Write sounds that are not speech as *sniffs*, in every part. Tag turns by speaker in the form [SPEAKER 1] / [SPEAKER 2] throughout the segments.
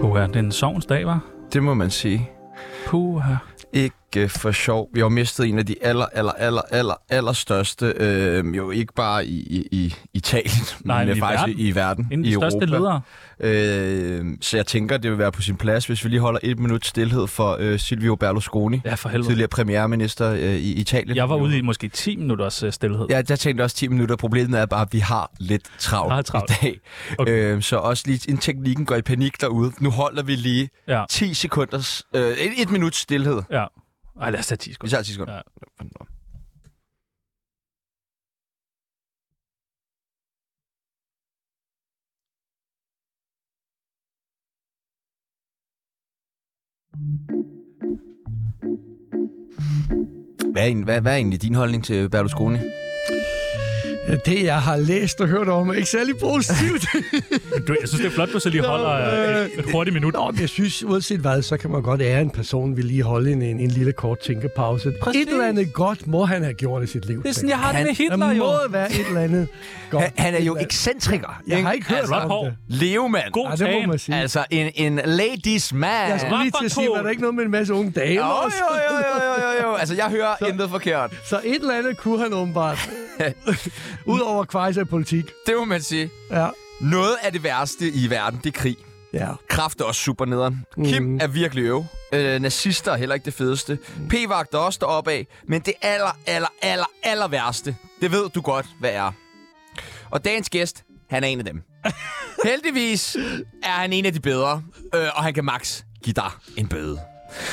[SPEAKER 1] Puha, det er en sovens dag, var.
[SPEAKER 2] Det må man sige.
[SPEAKER 1] Puha.
[SPEAKER 2] Ikke øh, for sjov. Vi har jo mistet en af de aller, aller, aller, aller, aller største, øh, jo ikke bare i, i, i Italien,
[SPEAKER 1] Nej,
[SPEAKER 2] men øh,
[SPEAKER 1] i
[SPEAKER 2] faktisk
[SPEAKER 1] verden.
[SPEAKER 2] i, i verden,
[SPEAKER 1] En af
[SPEAKER 2] i
[SPEAKER 1] de største
[SPEAKER 2] Europa.
[SPEAKER 1] ledere.
[SPEAKER 2] Øh, så jeg tænker, det vil være på sin plads, hvis vi lige holder et minut stillhed for øh, Silvio Berlusconi,
[SPEAKER 1] Ja, for helvede.
[SPEAKER 2] tidligere premierminister øh, i Italien.
[SPEAKER 1] Jeg var ude i måske 10 minutters øh, stillhed.
[SPEAKER 2] Ja, jeg tænkte også 10 minutter. Problemet er bare, at vi har lidt travlt,
[SPEAKER 1] Meget travlt.
[SPEAKER 2] i dag.
[SPEAKER 1] Okay.
[SPEAKER 2] Okay. Øh, så også lige, inden teknikken går i panik derude, nu holder vi lige
[SPEAKER 1] Ja.
[SPEAKER 2] 10 sekunders, øh, et, et minut stillhed.
[SPEAKER 1] ja. Ej, lad os tage 10
[SPEAKER 2] Vi
[SPEAKER 1] sekunder.
[SPEAKER 2] tager 10 sekunder.
[SPEAKER 1] Ja.
[SPEAKER 2] Ja. Hvad er, en- hvad, hvad er egentlig din holdning til Berlusconi?
[SPEAKER 3] Ja, Det, jeg har læst og hørt om, er ikke særlig positivt.
[SPEAKER 1] Du, jeg synes, det er flot, du så lige holder øh, et, et hurtigt minut.
[SPEAKER 3] Nå, men jeg synes, uanset hvad, så kan man godt ære en person, vil lige holde en, en, en lille kort tænkepause. Præcis.
[SPEAKER 2] Præcis.
[SPEAKER 3] Et eller andet godt må han have gjort i sit liv.
[SPEAKER 1] Det er sådan, jeg har det med Hitler,
[SPEAKER 3] der
[SPEAKER 1] jo.
[SPEAKER 3] må være et eller andet godt.
[SPEAKER 2] Han, han er jo ekscentriker.
[SPEAKER 3] Jeg har ikke hørt
[SPEAKER 1] Altså,
[SPEAKER 3] om
[SPEAKER 1] hår.
[SPEAKER 3] det.
[SPEAKER 2] Levemand.
[SPEAKER 1] God
[SPEAKER 3] Nej, det må
[SPEAKER 1] tagen.
[SPEAKER 3] man sige.
[SPEAKER 2] Altså, en, en ladies man.
[SPEAKER 3] Jeg skulle lige til at sige,
[SPEAKER 1] Rockertog.
[SPEAKER 3] var der ikke noget med en masse unge damer?
[SPEAKER 2] Jo,
[SPEAKER 3] og
[SPEAKER 2] jo,
[SPEAKER 3] sådan
[SPEAKER 2] jo, jo, jo, jo, jo. Altså, jeg hører intet forkert.
[SPEAKER 3] Så et eller andet kunne han åbenbart. Udover kvejs af politik.
[SPEAKER 2] Det må man sige.
[SPEAKER 3] Ja.
[SPEAKER 2] Noget af det værste i verden, det er krig.
[SPEAKER 3] ja.
[SPEAKER 2] Kraft er også super nederen. Mm. Kim er virkelig øv. Øh, nazister er heller ikke det fedeste. P-vagt er også deroppe af. Men det aller, aller, aller, aller værste, det ved du godt, hvad er. Og dagens gæst, han er en af dem. Heldigvis er han en af de bedre, øh, og han kan max give dig en bøde.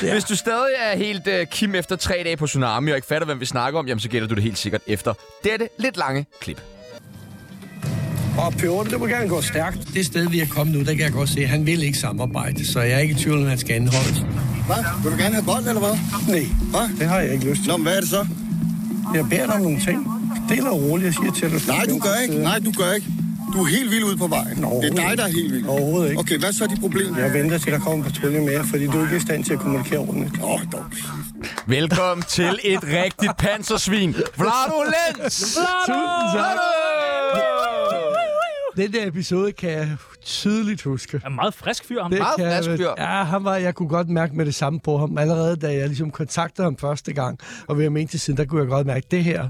[SPEAKER 2] Ja. Hvis du stadig er helt øh, Kim efter tre dage på Tsunami, og ikke fatter, hvem vi snakker om, jamen så gælder du det helt sikkert efter dette lidt lange klip.
[SPEAKER 3] Og Pjorten, det må gerne gå stærkt. Det sted, vi er kommet nu, der kan jeg godt se, at han vil ikke samarbejde, så jeg er ikke i tvivl om, at han skal anholdes.
[SPEAKER 4] Hvad? Vil du gerne have bold, eller hvad?
[SPEAKER 3] Nej,
[SPEAKER 4] Hvad?
[SPEAKER 3] det har jeg ikke lyst til.
[SPEAKER 4] Nå, men hvad er det så?
[SPEAKER 3] Jeg beder dig om nogle ting. Det er roligt, jeg siger til dig.
[SPEAKER 4] Nej, du gør ikke. Nej, du gør ikke. Du er helt vild ude på vejen. Det er dig, der er helt vild.
[SPEAKER 3] Overhovedet ikke.
[SPEAKER 4] Okay, hvad er så de problemer?
[SPEAKER 3] Jeg venter til, der kommer en patrulje mere, fordi du er ikke i stand til at kommunikere ordentligt.
[SPEAKER 4] Åh, oh, dog.
[SPEAKER 2] Velkommen til et rigtigt pansersvin. Vlado Lenz!
[SPEAKER 3] Tusind tak.
[SPEAKER 2] Vlado!
[SPEAKER 3] Den der episode kan jeg tydeligt huske.
[SPEAKER 1] Er meget frisk fyr, ham.
[SPEAKER 3] Det
[SPEAKER 2] Meget
[SPEAKER 3] kan jeg-
[SPEAKER 2] frisk fyr.
[SPEAKER 3] Ja, han var, jeg kunne godt mærke med det samme på ham. Allerede da jeg ligesom kontaktede ham første gang, og ved at mene til siden, der kunne jeg godt mærke, det her,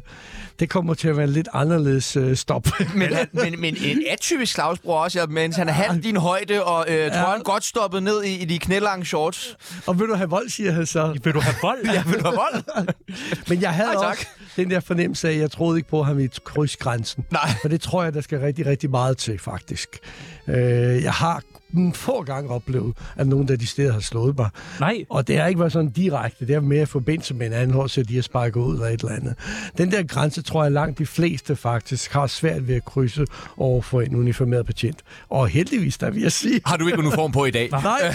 [SPEAKER 3] det kommer til at være en lidt anderledes øh, stop. *laughs*
[SPEAKER 2] Men, han- men, men en atypisk slagsbror også, ja, mens han er halv din højde, og øh, tror han godt stoppet ned i, i de knælange shorts.
[SPEAKER 3] og vil du have vold, siger han så.
[SPEAKER 1] Vil du have vold?
[SPEAKER 2] Jeg vil have vold.
[SPEAKER 3] Men jeg havde
[SPEAKER 2] Ej,
[SPEAKER 3] Ej,
[SPEAKER 2] tak.
[SPEAKER 3] også den der fornemmelse af, at jeg troede ikke på ham i et krydsgrænsen.
[SPEAKER 2] Nej.
[SPEAKER 3] For det tror jeg, der skal rigtig, rigtig meget til, faktisk. Øh, jeg har mm, få gange oplevet, at nogen af de steder har slået mig.
[SPEAKER 1] Nej.
[SPEAKER 3] Og det har ikke været sådan direkte. Det har mere i forbindelse med en anden hård, så de har sparket ud eller et eller andet. Den der grænse, tror jeg, langt de fleste faktisk har svært ved at krydse over for en uniformeret patient. Og heldigvis, der vil jeg
[SPEAKER 2] *laughs*
[SPEAKER 3] sige.
[SPEAKER 2] Har du ikke uniform på i dag?
[SPEAKER 3] Nej,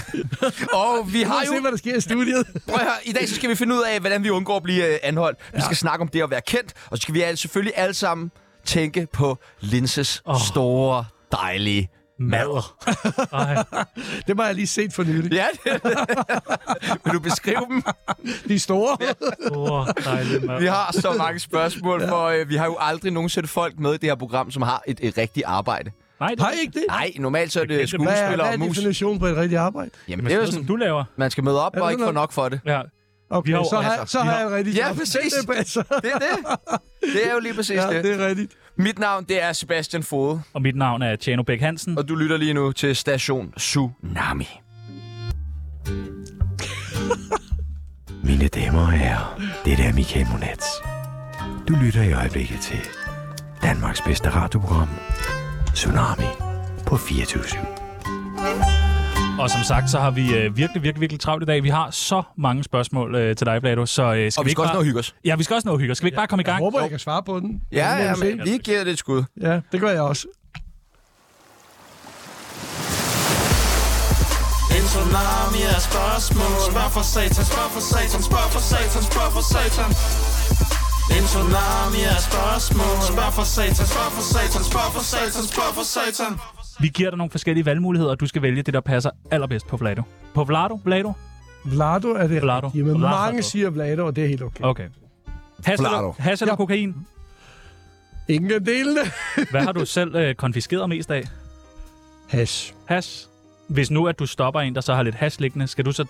[SPEAKER 2] Og vi
[SPEAKER 3] har
[SPEAKER 2] har
[SPEAKER 3] se,
[SPEAKER 2] jo...
[SPEAKER 3] hvad der sker i studiet.
[SPEAKER 2] Prøv at høre, I dag så skal vi finde ud af, hvordan vi undgår at blive øh, anholdt. Vi skal snakke om det at være kendt, og så skal vi alle, selvfølgelig alle sammen tænke på Linses oh. store, dejlige mad.
[SPEAKER 1] Ej.
[SPEAKER 3] Det var jeg lige set for nylig.
[SPEAKER 2] Ja, det. *laughs* Vil du beskrive dem?
[SPEAKER 3] De store.
[SPEAKER 1] Oh, dejligt, mand.
[SPEAKER 2] Vi har så mange spørgsmål, for øh, vi har jo aldrig nogensinde folk med i det her program, som har et, et rigtigt arbejde.
[SPEAKER 1] Nej, det
[SPEAKER 3] Har I ikke det?
[SPEAKER 2] Nej, normalt så er det
[SPEAKER 1] kendte mus.
[SPEAKER 3] Hvad er,
[SPEAKER 2] skuespillere
[SPEAKER 3] hvad er
[SPEAKER 2] og mus.
[SPEAKER 3] definitionen på et rigtigt arbejde?
[SPEAKER 2] Jamen,
[SPEAKER 1] Men
[SPEAKER 2] det er jo
[SPEAKER 1] sådan, som
[SPEAKER 2] sådan,
[SPEAKER 1] du laver.
[SPEAKER 2] man skal møde op
[SPEAKER 3] Er det
[SPEAKER 2] og ikke få
[SPEAKER 3] noget-
[SPEAKER 2] nok for det.
[SPEAKER 1] Ja.
[SPEAKER 3] Okay,
[SPEAKER 1] har jo-
[SPEAKER 3] så, har,
[SPEAKER 1] altså,
[SPEAKER 3] så
[SPEAKER 1] vi
[SPEAKER 3] har
[SPEAKER 1] har-
[SPEAKER 3] jeg et rigtigt
[SPEAKER 2] Ja,
[SPEAKER 3] job.
[SPEAKER 2] præcis.
[SPEAKER 3] Det passer.
[SPEAKER 2] Det er det. Det er jo lige præcis
[SPEAKER 3] Ja, det
[SPEAKER 2] det.
[SPEAKER 3] er rigtigt.
[SPEAKER 2] Mit navn, det er Sebastian Fode,
[SPEAKER 1] Og mit navn er Tjano Bæk Hansen.
[SPEAKER 2] og du lytter lige nu til Station Tsunami.
[SPEAKER 5] Mine damer og herrer, det er Michael Monats. Du lytter i øjeblikket til Danmarks bedste radioprogram, Tsunami på 24
[SPEAKER 1] Og som sagt, så har vi øh, virkelig, virkelig, virkelig travlt i dag. Vi har så mange spørgsmål øh, til dig, Plato. Så, øh, skal
[SPEAKER 2] Og vi skal
[SPEAKER 1] ikke
[SPEAKER 2] også nå
[SPEAKER 1] bare...
[SPEAKER 2] at hygge os.
[SPEAKER 1] Ja, vi skal også nå at hygge. os. Skal vi ikke bare komme i
[SPEAKER 3] Jeg
[SPEAKER 1] gang?
[SPEAKER 3] håber, jeg kan svare på den.
[SPEAKER 2] Ja,
[SPEAKER 3] Det må
[SPEAKER 2] ja,
[SPEAKER 3] vi se.
[SPEAKER 2] men vi giver det et skud.
[SPEAKER 3] ja, det gør jeg også.
[SPEAKER 6] En tsunami af spørgsmål Spørg for satan, spørg for satan, spørg for satan, spørg for satan En tsunami af spørgsmål Spørg for satan, spørg for satan, spørg for satan, spørg for satan
[SPEAKER 1] Vi giver dig nogle forskellige valgmuligheder, og du skal vælge det, der passer allerbedst på Plato. På Vlado? Plato?
[SPEAKER 3] Vlado er det
[SPEAKER 1] Vlado.
[SPEAKER 3] rigtige, men
[SPEAKER 1] Vlado.
[SPEAKER 3] mange siger Vlado, og det er helt okay.
[SPEAKER 1] Okay. Hash
[SPEAKER 2] Vlado.
[SPEAKER 1] eller, hash eller
[SPEAKER 3] Ja.
[SPEAKER 1] kokain?
[SPEAKER 3] Ingen af delene.
[SPEAKER 1] Hvad har du selv øh, konfiskeret mest af?
[SPEAKER 3] Hash.
[SPEAKER 1] Hash? Hvis nu, at du stopper en, der så har lidt hash liggende, skal du så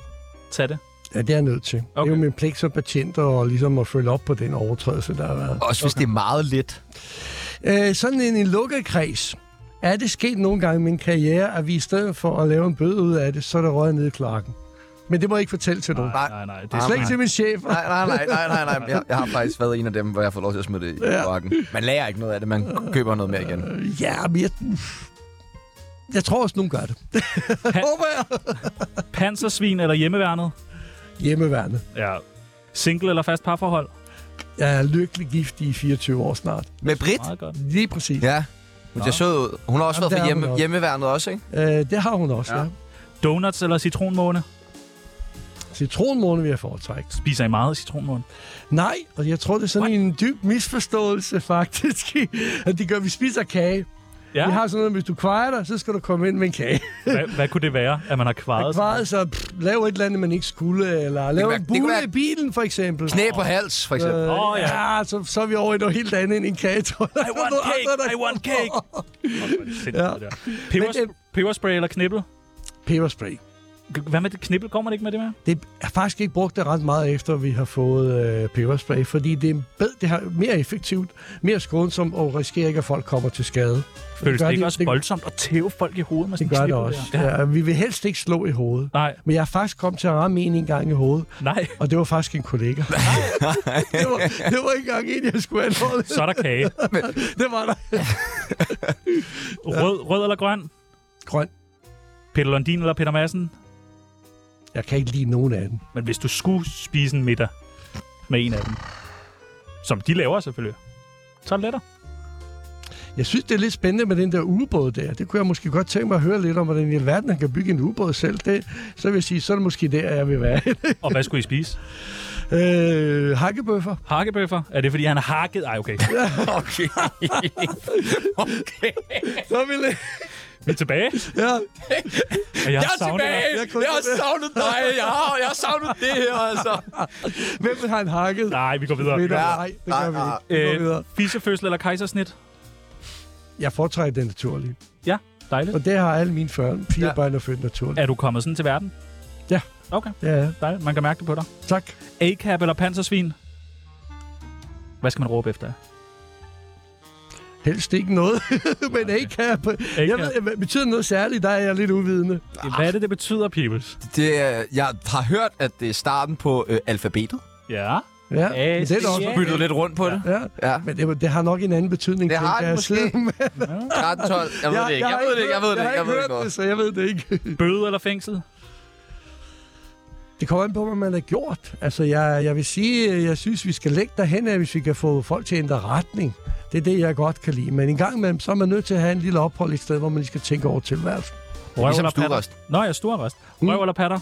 [SPEAKER 1] tage det?
[SPEAKER 3] Ja, det er jeg nødt til. Okay. Det
[SPEAKER 1] Okay.
[SPEAKER 3] er jo min pligt som patient og ligesom at følge op på den overtrædelse, der har været.
[SPEAKER 2] Også hvis okay. det er meget lidt.
[SPEAKER 3] Øh, sådan en, en lukket kreds. Er det sket nogle gange i min karriere, at vi i stedet for at lave en bøde ud af det, så er der røget ned i kloakken? Men det må jeg ikke fortælle til nogen.
[SPEAKER 2] Nej.
[SPEAKER 1] nej. Det
[SPEAKER 3] Det er slet ikke til min chef.
[SPEAKER 2] Nej, nej, nej, nej, nej, nej. Jeg, jeg har faktisk været en af dem, hvor jeg får lov til at smide det i kloakken. Man lærer ikke noget af det, man køber noget mere igen.
[SPEAKER 3] Ja, men jeg... Jeg tror også, nogen gør det. Håber jeg.
[SPEAKER 1] Pansersvin eller hjemmeværnet?
[SPEAKER 3] Hjemmeværende.
[SPEAKER 1] Ja. Single eller fast parforhold?
[SPEAKER 3] Jeg er lykkelig gift i 24 år snart.
[SPEAKER 2] Med Britt?
[SPEAKER 1] Meget godt.
[SPEAKER 3] Lige præcis. Ja.
[SPEAKER 2] Ja. Hun ser sød ud. Hun har også været
[SPEAKER 3] Jamen, det
[SPEAKER 2] for
[SPEAKER 3] har
[SPEAKER 2] hjemme,
[SPEAKER 3] hun også.
[SPEAKER 2] hjemmeværnet også, ikke?
[SPEAKER 3] Øh, det har hun også, ja. ja.
[SPEAKER 1] Donuts eller citronmåne?
[SPEAKER 3] Citronmåne vil jeg foretrække.
[SPEAKER 1] Spiser I meget citronmåne?
[SPEAKER 3] Nej, og jeg tror, det er sådan What? en dyb misforståelse *laughs* faktisk, at det gør, at vi spiser kage.
[SPEAKER 1] Ja.
[SPEAKER 3] Vi har sådan noget, hvis du kvejer dig, så skal du komme ind med en kage.
[SPEAKER 1] Hvad, hvad kunne det være, at man har kvaret? sig?
[SPEAKER 3] *laughs* Kvejet så pff, lav et eller andet, man ikke skulle, eller lav
[SPEAKER 2] være-
[SPEAKER 3] en
[SPEAKER 2] det kunne
[SPEAKER 3] bule
[SPEAKER 2] være-
[SPEAKER 3] i bilen, for eksempel.
[SPEAKER 2] Knæ på hals, for eksempel.
[SPEAKER 1] Åh,
[SPEAKER 3] Øh,
[SPEAKER 1] ja.
[SPEAKER 3] ja, så, så er vi over i noget helt andet end en kage. tror jeg.
[SPEAKER 1] I want
[SPEAKER 3] *laughs* Noget andet,
[SPEAKER 1] cake!
[SPEAKER 3] der
[SPEAKER 1] I want cake! Åh, hvor er det sindssygt,
[SPEAKER 3] Ja.
[SPEAKER 1] det der. Peber-
[SPEAKER 3] Men det-
[SPEAKER 1] Peberspray eller knibbel?
[SPEAKER 3] Peberspray.
[SPEAKER 1] G- Hvad med det knibbel? Går man ikke med det mere?
[SPEAKER 3] Det er faktisk ikke brugt det ret meget efter, vi har fået øh, peberspray, fordi det er bed, det har mere effektivt, mere skånsomt og risikerer ikke, at folk kommer til skade.
[SPEAKER 1] Føles
[SPEAKER 3] gør
[SPEAKER 1] det ikke
[SPEAKER 3] de-
[SPEAKER 1] også
[SPEAKER 3] det-
[SPEAKER 1] voldsomt at tæve folk i hovedet med sådan
[SPEAKER 3] Det
[SPEAKER 1] en
[SPEAKER 3] gør det
[SPEAKER 1] knibbel der?
[SPEAKER 3] også.
[SPEAKER 1] Ja.
[SPEAKER 3] Ja, vi vil helst ikke slå i hovedet.
[SPEAKER 1] Nej,
[SPEAKER 3] Men jeg er faktisk kommet til at ramme en en gang i hovedet,
[SPEAKER 1] nej.
[SPEAKER 3] og det var faktisk en
[SPEAKER 1] *laughs*
[SPEAKER 3] kollega. *laughs* det, var, det var ikke engang en, jeg skulle alvorligt.
[SPEAKER 1] Så er der kage.
[SPEAKER 3] Det var der.
[SPEAKER 1] Rød, rød eller grøn?
[SPEAKER 3] Grøn.
[SPEAKER 1] Peter Lundin eller Peter Madsen?
[SPEAKER 3] Jeg kan ikke lide nogen af dem.
[SPEAKER 1] Men hvis du skulle spise en middag med en af dem, som de laver selvfølgelig, så er det lettere.
[SPEAKER 3] Jeg synes, det er lidt spændende med den der ubåd der. Det kunne jeg måske godt tænke mig at høre lidt om, hvordan i alverden han kan bygge en ubåd selv. Det, så vil jeg sige, så er det måske der, jeg vil være.
[SPEAKER 1] Og hvad skulle I spise?
[SPEAKER 3] øh, hakkebøffer.
[SPEAKER 1] Hakkebøffer? Er det, fordi han har hakket? Ej, okay.
[SPEAKER 2] Okay.
[SPEAKER 3] Så vil
[SPEAKER 2] øh.
[SPEAKER 3] jeg...
[SPEAKER 1] Vi er tilbage.
[SPEAKER 3] Ja,
[SPEAKER 1] Og jeg,
[SPEAKER 2] Jeg er
[SPEAKER 1] savner
[SPEAKER 2] tilbage!
[SPEAKER 1] dig.
[SPEAKER 3] Jeg kunne
[SPEAKER 2] Jeg har
[SPEAKER 3] ikke lade være.
[SPEAKER 2] savnet dig! Jeg har, jeg har savnet det her, altså.
[SPEAKER 3] hvem vil have en hakket?
[SPEAKER 1] Nej, vi går videre.
[SPEAKER 3] Ved du,
[SPEAKER 2] Ja.
[SPEAKER 3] Nej, det gør vi
[SPEAKER 2] Nej,
[SPEAKER 3] ikke. Vi går videre.
[SPEAKER 1] Fisefødsel eller kejsersnit?
[SPEAKER 3] Jeg foretrækker den naturlige.
[SPEAKER 1] Ja, dejligt.
[SPEAKER 3] Og det har alle mine før. Fire
[SPEAKER 2] Ja.
[SPEAKER 3] ja. børn er født naturligt.
[SPEAKER 1] Er du kommet sådan til verden?
[SPEAKER 3] Ja.
[SPEAKER 1] Okay,
[SPEAKER 3] Ja,
[SPEAKER 1] dejligt. Man kan mærke det på dig.
[SPEAKER 3] tak.
[SPEAKER 1] A-cap eller pansersvin? Hvad skal man råbe efter?
[SPEAKER 3] Helst ikke noget, *laughs* men ikke her. Jeg ved, betyder det noget særligt, der er jeg lidt uvidende.
[SPEAKER 1] Hvad er det, det betyder, peoples?
[SPEAKER 2] Det, er- jeg har hørt, at det er starten på øh, alfabetet.
[SPEAKER 1] Ja.
[SPEAKER 3] Ja,
[SPEAKER 1] Ja,
[SPEAKER 3] men det er da også...
[SPEAKER 1] ja.
[SPEAKER 2] Byttet lidt rundt på det.
[SPEAKER 3] Ja.
[SPEAKER 2] Ja.
[SPEAKER 3] Men det, det har nok en anden betydning.
[SPEAKER 2] Det har
[SPEAKER 3] tænker
[SPEAKER 2] det
[SPEAKER 3] jeg,
[SPEAKER 2] måske.
[SPEAKER 3] siden-
[SPEAKER 2] 13, 12. Jeg ved det ikke. Jeg
[SPEAKER 3] har
[SPEAKER 2] ved det ikke. Jeg ved det
[SPEAKER 3] hørt-
[SPEAKER 2] ikke. Jeg ved
[SPEAKER 3] har
[SPEAKER 2] det
[SPEAKER 3] hørt
[SPEAKER 2] ikke.
[SPEAKER 3] det, så jeg ved det ikke.
[SPEAKER 1] Bøde eller fængsel?
[SPEAKER 3] Det kommer an på, hvad man har gjort. Altså, jeg, jeg vil sige, øh, jeg synes, vi skal lægge derhen af, hvis vi kan få folk til at ændre retning. Det er det, jeg godt kan lide. Men en gang imellem, så er man nødt til at have en lille ophold et sted, hvor man lige skal tænke over tilværelsen.
[SPEAKER 1] Røv
[SPEAKER 2] Ligesom
[SPEAKER 1] eller patter?
[SPEAKER 2] stuerest. Mm.
[SPEAKER 1] Nå, jeg er stuerest. Røv eller patter?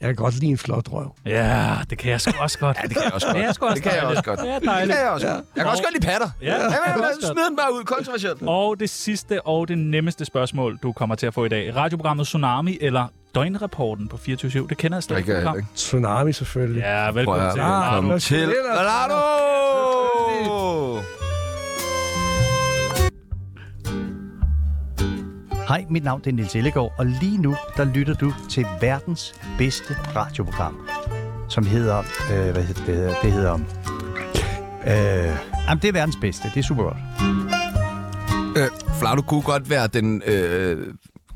[SPEAKER 3] Jeg kan godt lide en flot røv.
[SPEAKER 1] Ja, det kan jeg sgu også godt.
[SPEAKER 2] *laughs* Ja, det kan jeg også godt.
[SPEAKER 1] Det er sgu også
[SPEAKER 2] Det kan jeg
[SPEAKER 1] dejligt.
[SPEAKER 2] også godt.
[SPEAKER 1] Det er
[SPEAKER 2] Det
[SPEAKER 1] dejligt.
[SPEAKER 2] kan jeg også godt. Jeg kan også godt lide patter.
[SPEAKER 1] Ja, det kan jeg også godt.
[SPEAKER 2] Smid den bare ud. Kontroversielt.
[SPEAKER 1] Og det sidste og det nemmeste spørgsmål, du kommer til at få i dag. Radioprogrammet Tsunami eller Døgnrapporten på 24 Det kender jeg slet
[SPEAKER 2] Det
[SPEAKER 1] ikke.
[SPEAKER 2] kan jeg
[SPEAKER 1] program.
[SPEAKER 2] ikke.
[SPEAKER 3] Tsunami selvfølgelig.
[SPEAKER 1] Ja, velkommen til.
[SPEAKER 3] Ah,
[SPEAKER 1] Kom.
[SPEAKER 3] hvad
[SPEAKER 2] Til
[SPEAKER 3] spiller der?
[SPEAKER 2] Renato!
[SPEAKER 7] Hej, mit navn det er Nils Ellegaard, og lige nu der lytter du til verdens bedste radioprogram, som hedder... Øh, hvad hedder det? hedder- Det hedder... Øh, jamen, det er verdens bedste. Det er super godt.
[SPEAKER 2] Øh, Flardo kunne godt være den øh,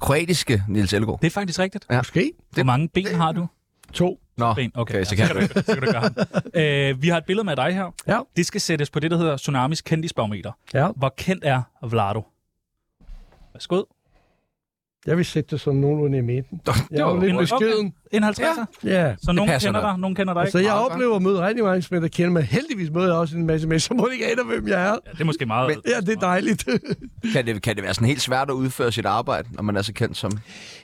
[SPEAKER 2] kroatiske Nils Elgaard.
[SPEAKER 1] Det er faktisk rigtigt.
[SPEAKER 3] Måske
[SPEAKER 1] Hvor mange ben har du?
[SPEAKER 3] to.
[SPEAKER 2] Nå,
[SPEAKER 1] Ben. Okay,
[SPEAKER 2] okay
[SPEAKER 1] ja,
[SPEAKER 2] så kan jeg det.
[SPEAKER 1] så kan du gøre ham. Øh, vi har et billede med dig her.
[SPEAKER 3] Ja.
[SPEAKER 1] Det skal sættes på det, der hedder Tsunamis kendisbarometer.
[SPEAKER 3] Ja.
[SPEAKER 1] Hvor kendt er Vlado? Værsgo.
[SPEAKER 3] Jeg vil sætte det som nogenlunde i midten. Jeg er jo lidt
[SPEAKER 1] okay.
[SPEAKER 3] beskeden.
[SPEAKER 1] En 50'er?
[SPEAKER 3] Ja.
[SPEAKER 1] Så nogen
[SPEAKER 2] passer
[SPEAKER 1] kender
[SPEAKER 2] nok.
[SPEAKER 1] dig, nogen kender dig
[SPEAKER 3] Så
[SPEAKER 1] ikke?
[SPEAKER 3] jeg
[SPEAKER 2] meget, hva'?
[SPEAKER 3] oplever at møde rigtig mange mennesker, der kender mig. Heldigvis møder jeg også en masse mennesker, hvor de ikke aner, hvem jeg er.
[SPEAKER 1] Ja, det er måske meget...
[SPEAKER 2] Men-
[SPEAKER 3] Ja, det er dejligt. *laughs*
[SPEAKER 2] Kan det, kan det være sådan helt svært at udføre sit arbejde, når man er så kendt som...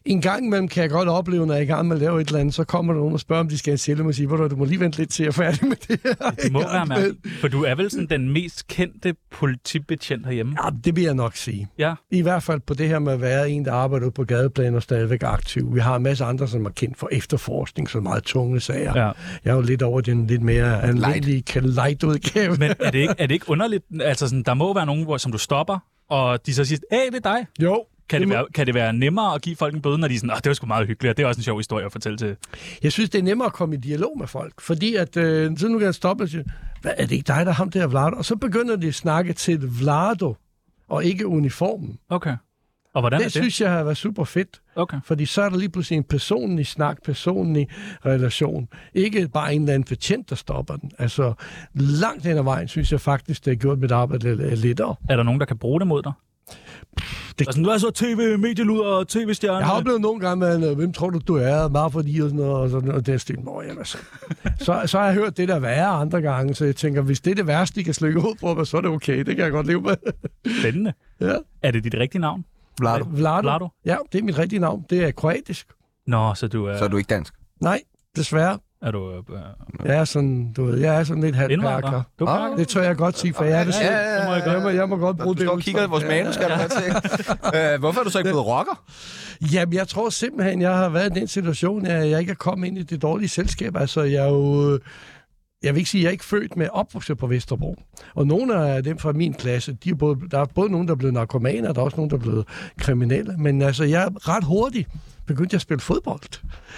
[SPEAKER 3] en gang imellem kan jeg godt opleve, når jeg er i gang med at lave et eller andet, så kommer der nogen og spørger, om de skal have en sælge, og siger, "Ved du hvad, du må lige vente lidt til, jeg er færdig med det her.
[SPEAKER 1] Det
[SPEAKER 3] *laughs*
[SPEAKER 1] må være mærkeligt, for du er vel sådan den mest kendte politibetjent herhjemme.
[SPEAKER 3] Ja, det vil jeg nok sige.
[SPEAKER 1] Ja.
[SPEAKER 3] I hvert fald på det her med at være en, der arbejder ude på gadeplan og stadigvæk aktiv. Vi har en masse andre, som er kendt for efterforskning, så meget tunge sager.
[SPEAKER 1] Ja.
[SPEAKER 3] Jeg er jo lidt over den lidt mere almindelige light udgave.
[SPEAKER 1] Men er det ikke, er det ikke underligt? Altså, sådan, der må være nogen, hvor, som du stopper, og de så siger, hey, det er dig.
[SPEAKER 3] *laughs* Jo,
[SPEAKER 1] Kan det,
[SPEAKER 3] Det må-
[SPEAKER 1] være, kan det være nemmere at give folk en bøde, når de er sådan, "Åh, det var sgu meget hyggeligt, og det er også en sjov historie at fortælle til.
[SPEAKER 3] Jeg synes, det er nemmere at komme i dialog med folk, fordi at, øh, så nu kan jeg stoppe og sige, hvad er det ikke dig, der er ham der Vlado? Og så begynder de at snakke til Vlado, og ikke uniformen.
[SPEAKER 1] Okay. Og hvordan
[SPEAKER 3] det,
[SPEAKER 1] er det?
[SPEAKER 3] synes jeg har været super fedt,
[SPEAKER 1] Okay.
[SPEAKER 3] fordi så er der lige pludselig en personlig snak, personlig relation. Ikke bare en eller anden betjent, der stopper den. Altså, langt hen ad vejen, synes jeg faktisk, det har gjort mit arbejde lidt øh, lettere.
[SPEAKER 1] Er der nogen, der kan bruge det mod dig?
[SPEAKER 3] det-
[SPEAKER 1] Det... Altså, du er så tv-medieluder og tv-stjerne.
[SPEAKER 3] Jeg har oplevet nogle gange, at øh, hvem tror du, du er, meget fordi, og sådan noget, og, sådan, og det er stil, Nå,
[SPEAKER 1] *laughs*
[SPEAKER 3] jamen, så. så, så har jeg hørt det der værre andre gange, så jeg tænker, hvis det er det værste, de kan slykke ud på mig, så er det okay, det kan jeg godt leve med. *laughs*
[SPEAKER 1] Spændende.
[SPEAKER 3] ja.
[SPEAKER 1] Er det dit rigtige navn?
[SPEAKER 7] Vlado.
[SPEAKER 3] Vlado.
[SPEAKER 1] Vlado?
[SPEAKER 3] Ja, det er mit rigtige navn. Det er kroatisk.
[SPEAKER 1] Nå, så du er...
[SPEAKER 2] Så er du ikke dansk.
[SPEAKER 3] Nej, desværre.
[SPEAKER 1] Er du... Øh,
[SPEAKER 3] Jeg er sådan, du ved, jeg er sådan lidt halvt
[SPEAKER 1] indvandrer?
[SPEAKER 3] perker.
[SPEAKER 1] Du er
[SPEAKER 2] Ah.
[SPEAKER 1] perker?
[SPEAKER 3] Det tør jeg godt sige, for jeg er det selv.
[SPEAKER 2] ja,
[SPEAKER 1] må jeg godt.
[SPEAKER 3] Jeg må, jeg må godt bruge
[SPEAKER 2] Du
[SPEAKER 3] det.
[SPEAKER 2] står og kigger i
[SPEAKER 3] udtryk.
[SPEAKER 2] vores manus, skal du have til. Øh, Hvorfor er du så ikke blevet rocker?
[SPEAKER 3] Jamen, jeg tror simpelthen, jeg har været i den situation, at jeg ikke er kommet ind i det dårlige selskab. Altså, jeg er jo... øh, Jeg vil ikke sige, at jeg er ikke født med opvokset på Vesterbro. Og nogle af dem fra min klasse, de er både, der er både nogen, der er blevet narkomaner, og der er også nogen, der er blevet kriminelle. Men altså, jeg er ret hurtigt begyndte jeg at spille fodbold.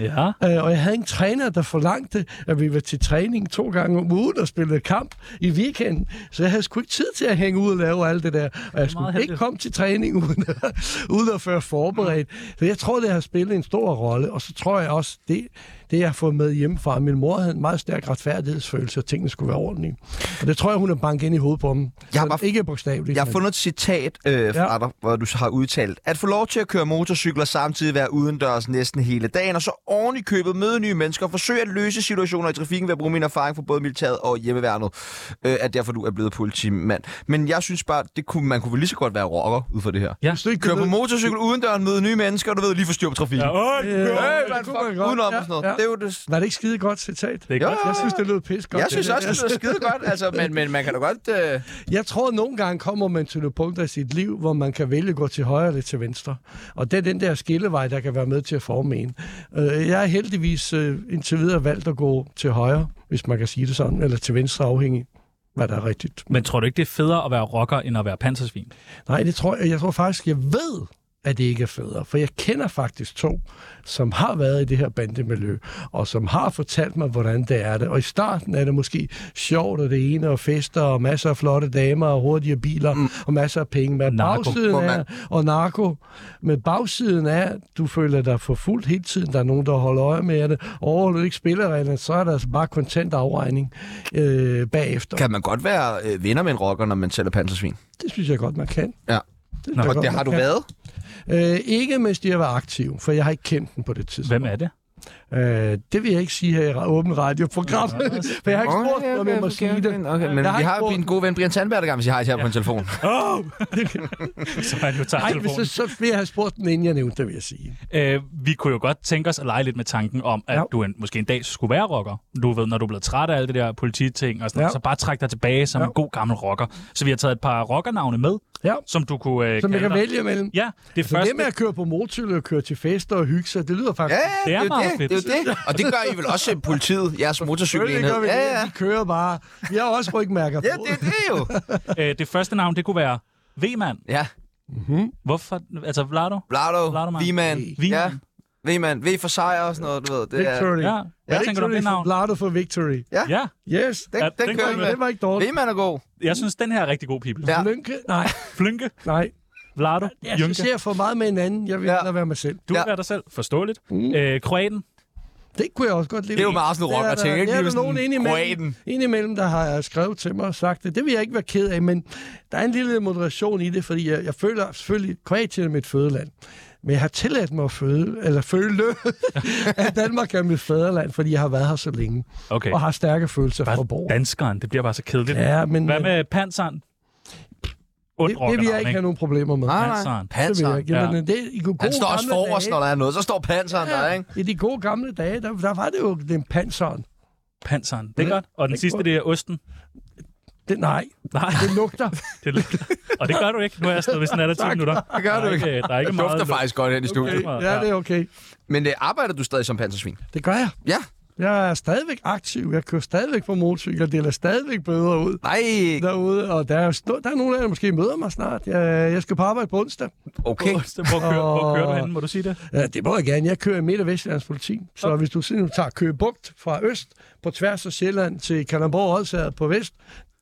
[SPEAKER 1] Ja.
[SPEAKER 3] Øh, og jeg havde en træner, der forlangte, at vi var til træning to gange om ugen og spillede kamp i weekenden. Så jeg havde sgu ikke tid til at hænge ud og lave alt det der. Og jeg skulle
[SPEAKER 1] heldigt.
[SPEAKER 3] ikke komme til træning uden, at- *laughs* uden at føre forberedt. Så jeg tror, det har spillet en stor rolle. Og så tror jeg også, det, det jeg har fået med hjemmefra, min mor havde en meget stærk retfærdighedsfølelse, og tingene skulle være ordentlige. Og det tror jeg, hun har banket ind i hovedet på dem.
[SPEAKER 2] Jeg har
[SPEAKER 3] Sådan,
[SPEAKER 2] bare-
[SPEAKER 3] Ikke bogstaveligt.
[SPEAKER 2] Jeg har
[SPEAKER 3] men-
[SPEAKER 2] fundet et citat øh, fra
[SPEAKER 3] Ja.
[SPEAKER 2] dig, hvor du har udtalt, at få lov til at køre motorcykler samtidig være udendørs næsten hele dagen, og så oven i købet møde nye mennesker og forsøge at løse situationer i trafikken ved at bruge min erfaring fra både militæret og hjemmeværnet, øh, er derfor du er blevet politimand. Men jeg synes bare, det kunne, man kunne vel lige så godt være rocker ud for det her.
[SPEAKER 1] Ja.
[SPEAKER 3] Hvis du ikke
[SPEAKER 2] Køre på
[SPEAKER 3] ved-
[SPEAKER 2] motorcykel udendørs, møde nye mennesker, og du ved lige forstyrre på trafikken. Ja.
[SPEAKER 1] Åh,
[SPEAKER 3] Øh,
[SPEAKER 2] Hey,
[SPEAKER 3] det
[SPEAKER 2] man,
[SPEAKER 3] kunne man
[SPEAKER 2] fuck,
[SPEAKER 3] godt.
[SPEAKER 2] udenom
[SPEAKER 3] Ja,
[SPEAKER 2] og sådan noget.
[SPEAKER 3] ja.
[SPEAKER 2] Ja. Det er jo det.
[SPEAKER 3] Var det ikke skide godt citat?
[SPEAKER 1] Det er godt.
[SPEAKER 2] Ja.
[SPEAKER 3] Jeg synes, det lød pisse godt.
[SPEAKER 2] Jeg synes også, det er skide godt,
[SPEAKER 3] *laughs*
[SPEAKER 2] altså, men, men man kan da godt... Øh...
[SPEAKER 3] Jeg tror, at nogle gange kommer man til nogle punkter i sit liv, hvor man kan vælge at gå til højre eller til venstre. Og det er den der skillevej, der kan være med til at forme en. Øh, Jeg har heldigvis øh, indtil videre valgt at gå til højre, hvis man kan sige det sådan, eller til venstre afhængig hvad der er rigtigt.
[SPEAKER 1] Men tror du ikke, det er federe at være rocker, end at være pansersvin?
[SPEAKER 3] Nej, det tror jeg. Jeg tror faktisk, jeg ved, at det ikke er federe. For jeg kender faktisk to, som har været i det her bandemiljø, og som har fortalt mig, hvordan det er det. Og i starten er det måske sjovt, og det ene, og fester, og masser af flotte damer, og hurtige biler, mm. og masser af penge. Men
[SPEAKER 1] Narko,
[SPEAKER 3] bagsiden
[SPEAKER 2] må man-
[SPEAKER 3] er, og narko, men bagsiden er, du føler dig for fuldt hele tiden. Der er nogen, der holder øje med det. Overholder du ikke spillereglerne, så er der altså bare kontant afregning øh, bagefter. Kan...
[SPEAKER 2] Kan man godt være øh, venner med en rocker, når man sælger pansersvin?
[SPEAKER 3] Det synes jeg godt, man kan.
[SPEAKER 2] Ja.
[SPEAKER 3] Det synes jeg
[SPEAKER 2] Og det
[SPEAKER 3] godt, man
[SPEAKER 2] har du
[SPEAKER 3] kan.
[SPEAKER 2] været?
[SPEAKER 3] Øh, ikke mens de har været aktive, for jeg har ikke kendt dem på det tidspunkt.
[SPEAKER 1] Hvem er det? *laughs*
[SPEAKER 3] Øh, det vil jeg ikke sige her i ra- åben radioprogram, for jeg har ikke spurgt, om jeg må sige det.
[SPEAKER 2] Okay, men
[SPEAKER 3] Jeg har
[SPEAKER 2] vi
[SPEAKER 3] ikke
[SPEAKER 2] har
[SPEAKER 3] spurgt-
[SPEAKER 2] min gode ven Brian Sandberg, der gerne vil sige hej til her på en
[SPEAKER 3] *laughs*
[SPEAKER 2] telefon.
[SPEAKER 1] Åh! så man jo tager
[SPEAKER 3] Nej,
[SPEAKER 1] telefonen.
[SPEAKER 3] så, så vil jeg have spurgt den, inden jeg nævnte det, vil jeg sige.
[SPEAKER 1] Øh, vi kunne jo godt tænke os at lege lidt med tanken om, at ja.
[SPEAKER 3] Ja.
[SPEAKER 1] du en, måske en dag skulle være rocker. Du ved, når du er blevet træt af alt det der polititing og sådan ja.
[SPEAKER 3] Ja.
[SPEAKER 1] noget, så bare træk dig tilbage som ja. en god gammel rocker. Så vi har taget et par rockernavne med,
[SPEAKER 3] Ja.
[SPEAKER 1] som du kunne øh,
[SPEAKER 3] Som jeg
[SPEAKER 1] kalde
[SPEAKER 3] kan
[SPEAKER 1] dig.
[SPEAKER 3] vælge mellem.
[SPEAKER 1] Ja, Altså, det
[SPEAKER 3] Så
[SPEAKER 1] første,
[SPEAKER 3] det med at køre på motorcykel og køre til fester og hygge sig, det lyder
[SPEAKER 2] Ja,
[SPEAKER 3] faktisk...
[SPEAKER 1] Det er
[SPEAKER 2] ja, det er,
[SPEAKER 1] meget
[SPEAKER 2] jo det,
[SPEAKER 1] fedt.
[SPEAKER 2] det er jo det. Og det gør I vel også øh, politiet, jeres
[SPEAKER 3] Selvfølgelig gør
[SPEAKER 2] motorcykelenhed.
[SPEAKER 3] vi det.
[SPEAKER 2] Ja, ja.
[SPEAKER 3] Vi kører bare. Vi har også rygmærker på.
[SPEAKER 2] Ja, det er det jo.
[SPEAKER 1] øh, det første navn, det kunne være V-mand.
[SPEAKER 2] Ja,
[SPEAKER 1] Hvorfor? Altså, Vlado? Vlado,
[SPEAKER 2] Vlado,
[SPEAKER 1] mand.
[SPEAKER 2] V-man, ja,
[SPEAKER 1] V-man.
[SPEAKER 2] V-man, V for sejr og sådan noget, du ved. Det er,
[SPEAKER 3] *laughs* Victory.
[SPEAKER 1] Ja. Hvad tænker du om
[SPEAKER 3] Victory
[SPEAKER 1] det
[SPEAKER 3] for
[SPEAKER 1] navn?
[SPEAKER 3] Vlado for Victory.
[SPEAKER 1] Ja,
[SPEAKER 3] Yes.
[SPEAKER 2] den,
[SPEAKER 1] Ja,
[SPEAKER 2] den,
[SPEAKER 1] den
[SPEAKER 2] kører
[SPEAKER 1] går
[SPEAKER 2] vi
[SPEAKER 1] vi
[SPEAKER 2] med.
[SPEAKER 3] Det var ikke dårligt.
[SPEAKER 2] V-man er god.
[SPEAKER 1] jeg synes, den her er rigtig god, people. Ja.
[SPEAKER 2] Ja.
[SPEAKER 3] Flynke? Nej,
[SPEAKER 1] Flynke,
[SPEAKER 3] nej.
[SPEAKER 1] Vlado,
[SPEAKER 3] Jeg synes,
[SPEAKER 1] Jynke.
[SPEAKER 3] jeg er for meget med hinanden. Jeg vil
[SPEAKER 2] Ja.
[SPEAKER 3] hellere være mig selv.
[SPEAKER 1] Du ja.
[SPEAKER 2] Ja.
[SPEAKER 1] være dig selv. Forståeligt. Mm. Øh, kroaten.
[SPEAKER 3] Det kunne jeg også godt lide.
[SPEAKER 2] Det er jo meget sådan rock
[SPEAKER 3] Der er
[SPEAKER 2] at
[SPEAKER 3] der-
[SPEAKER 2] tænke, ikke?
[SPEAKER 3] der er
[SPEAKER 2] Lige
[SPEAKER 3] der nogen
[SPEAKER 2] sådan,
[SPEAKER 3] indimellem,
[SPEAKER 2] kroaten.
[SPEAKER 3] indimellem, der har skrevet til mig og sagt det. Det vil jeg ikke være ked af, men der er en lille moderation i det, fordi jeg, jeg føler selvfølgelig, Kroatien er mit fødeland. Men jeg har tilladt mig at føde, eller føle, *laughs* at Danmark er mit fædreland, fordi jeg har været her så længe,
[SPEAKER 1] Okay.
[SPEAKER 3] og har stærke følelser for
[SPEAKER 1] Bare
[SPEAKER 3] borg.
[SPEAKER 1] danskeren. Det bliver bare så kedeligt. Ja.
[SPEAKER 3] Ja, men
[SPEAKER 1] Hvad
[SPEAKER 3] øh,
[SPEAKER 1] med panseren? Ondt
[SPEAKER 3] det, det vil jeg ikke have nogen problemer med.
[SPEAKER 2] Nej, nej.
[SPEAKER 1] Panseren.
[SPEAKER 3] Det vil jeg
[SPEAKER 2] Panseren.
[SPEAKER 3] ikke.
[SPEAKER 1] Ja.
[SPEAKER 3] Jamen, det, i gode
[SPEAKER 2] Han står også
[SPEAKER 3] gamle
[SPEAKER 2] forrest,
[SPEAKER 3] dage-
[SPEAKER 2] når der er noget. Så står panseren der, ikke?
[SPEAKER 3] I de gode gamle dage, der, der var det jo den panseren.
[SPEAKER 1] Panseren. Det er
[SPEAKER 3] Mm.
[SPEAKER 1] godt. Og den
[SPEAKER 3] Det er
[SPEAKER 1] sidste,
[SPEAKER 3] godt.
[SPEAKER 1] det er osten.
[SPEAKER 3] Det, nej, *laughs*
[SPEAKER 1] Nej, *laughs*
[SPEAKER 3] det lugter.
[SPEAKER 1] det er Og det gør du ikke. Nu er jeg stadig ved sådan alle 10 minutter. Det
[SPEAKER 2] gør du
[SPEAKER 1] ikke. Der er ikke
[SPEAKER 2] Det
[SPEAKER 1] meget.
[SPEAKER 2] dufter faktisk godt hen i studiet.
[SPEAKER 1] meget,
[SPEAKER 3] ja,
[SPEAKER 1] ja.
[SPEAKER 3] det er okay.
[SPEAKER 2] Men øh, arbejder du stadig som pansersvin?
[SPEAKER 3] Det gør jeg.
[SPEAKER 2] Ja.
[SPEAKER 3] Det Jeg er stadigvæk aktiv. Jeg kører stadigvæk på motorcykel. Jeg deler stadigvæk bøder ud
[SPEAKER 2] Nej,
[SPEAKER 3] derude. Og der er, jo stå- der er nogle af jer, der måske møder mig snart. Jeg, jeg skal på arbejde på onsdag.
[SPEAKER 2] okay.
[SPEAKER 1] Hvor kører, hvor kører du hen? Må du sige det?
[SPEAKER 3] Ja, det må jeg gerne. Jeg kører i Midt- og Vestjyllands politi. Så okay. hvis du simpelthen tager Køge Bugt fra øst på tværs af Sjælland til Kalamborg Odsager på vest,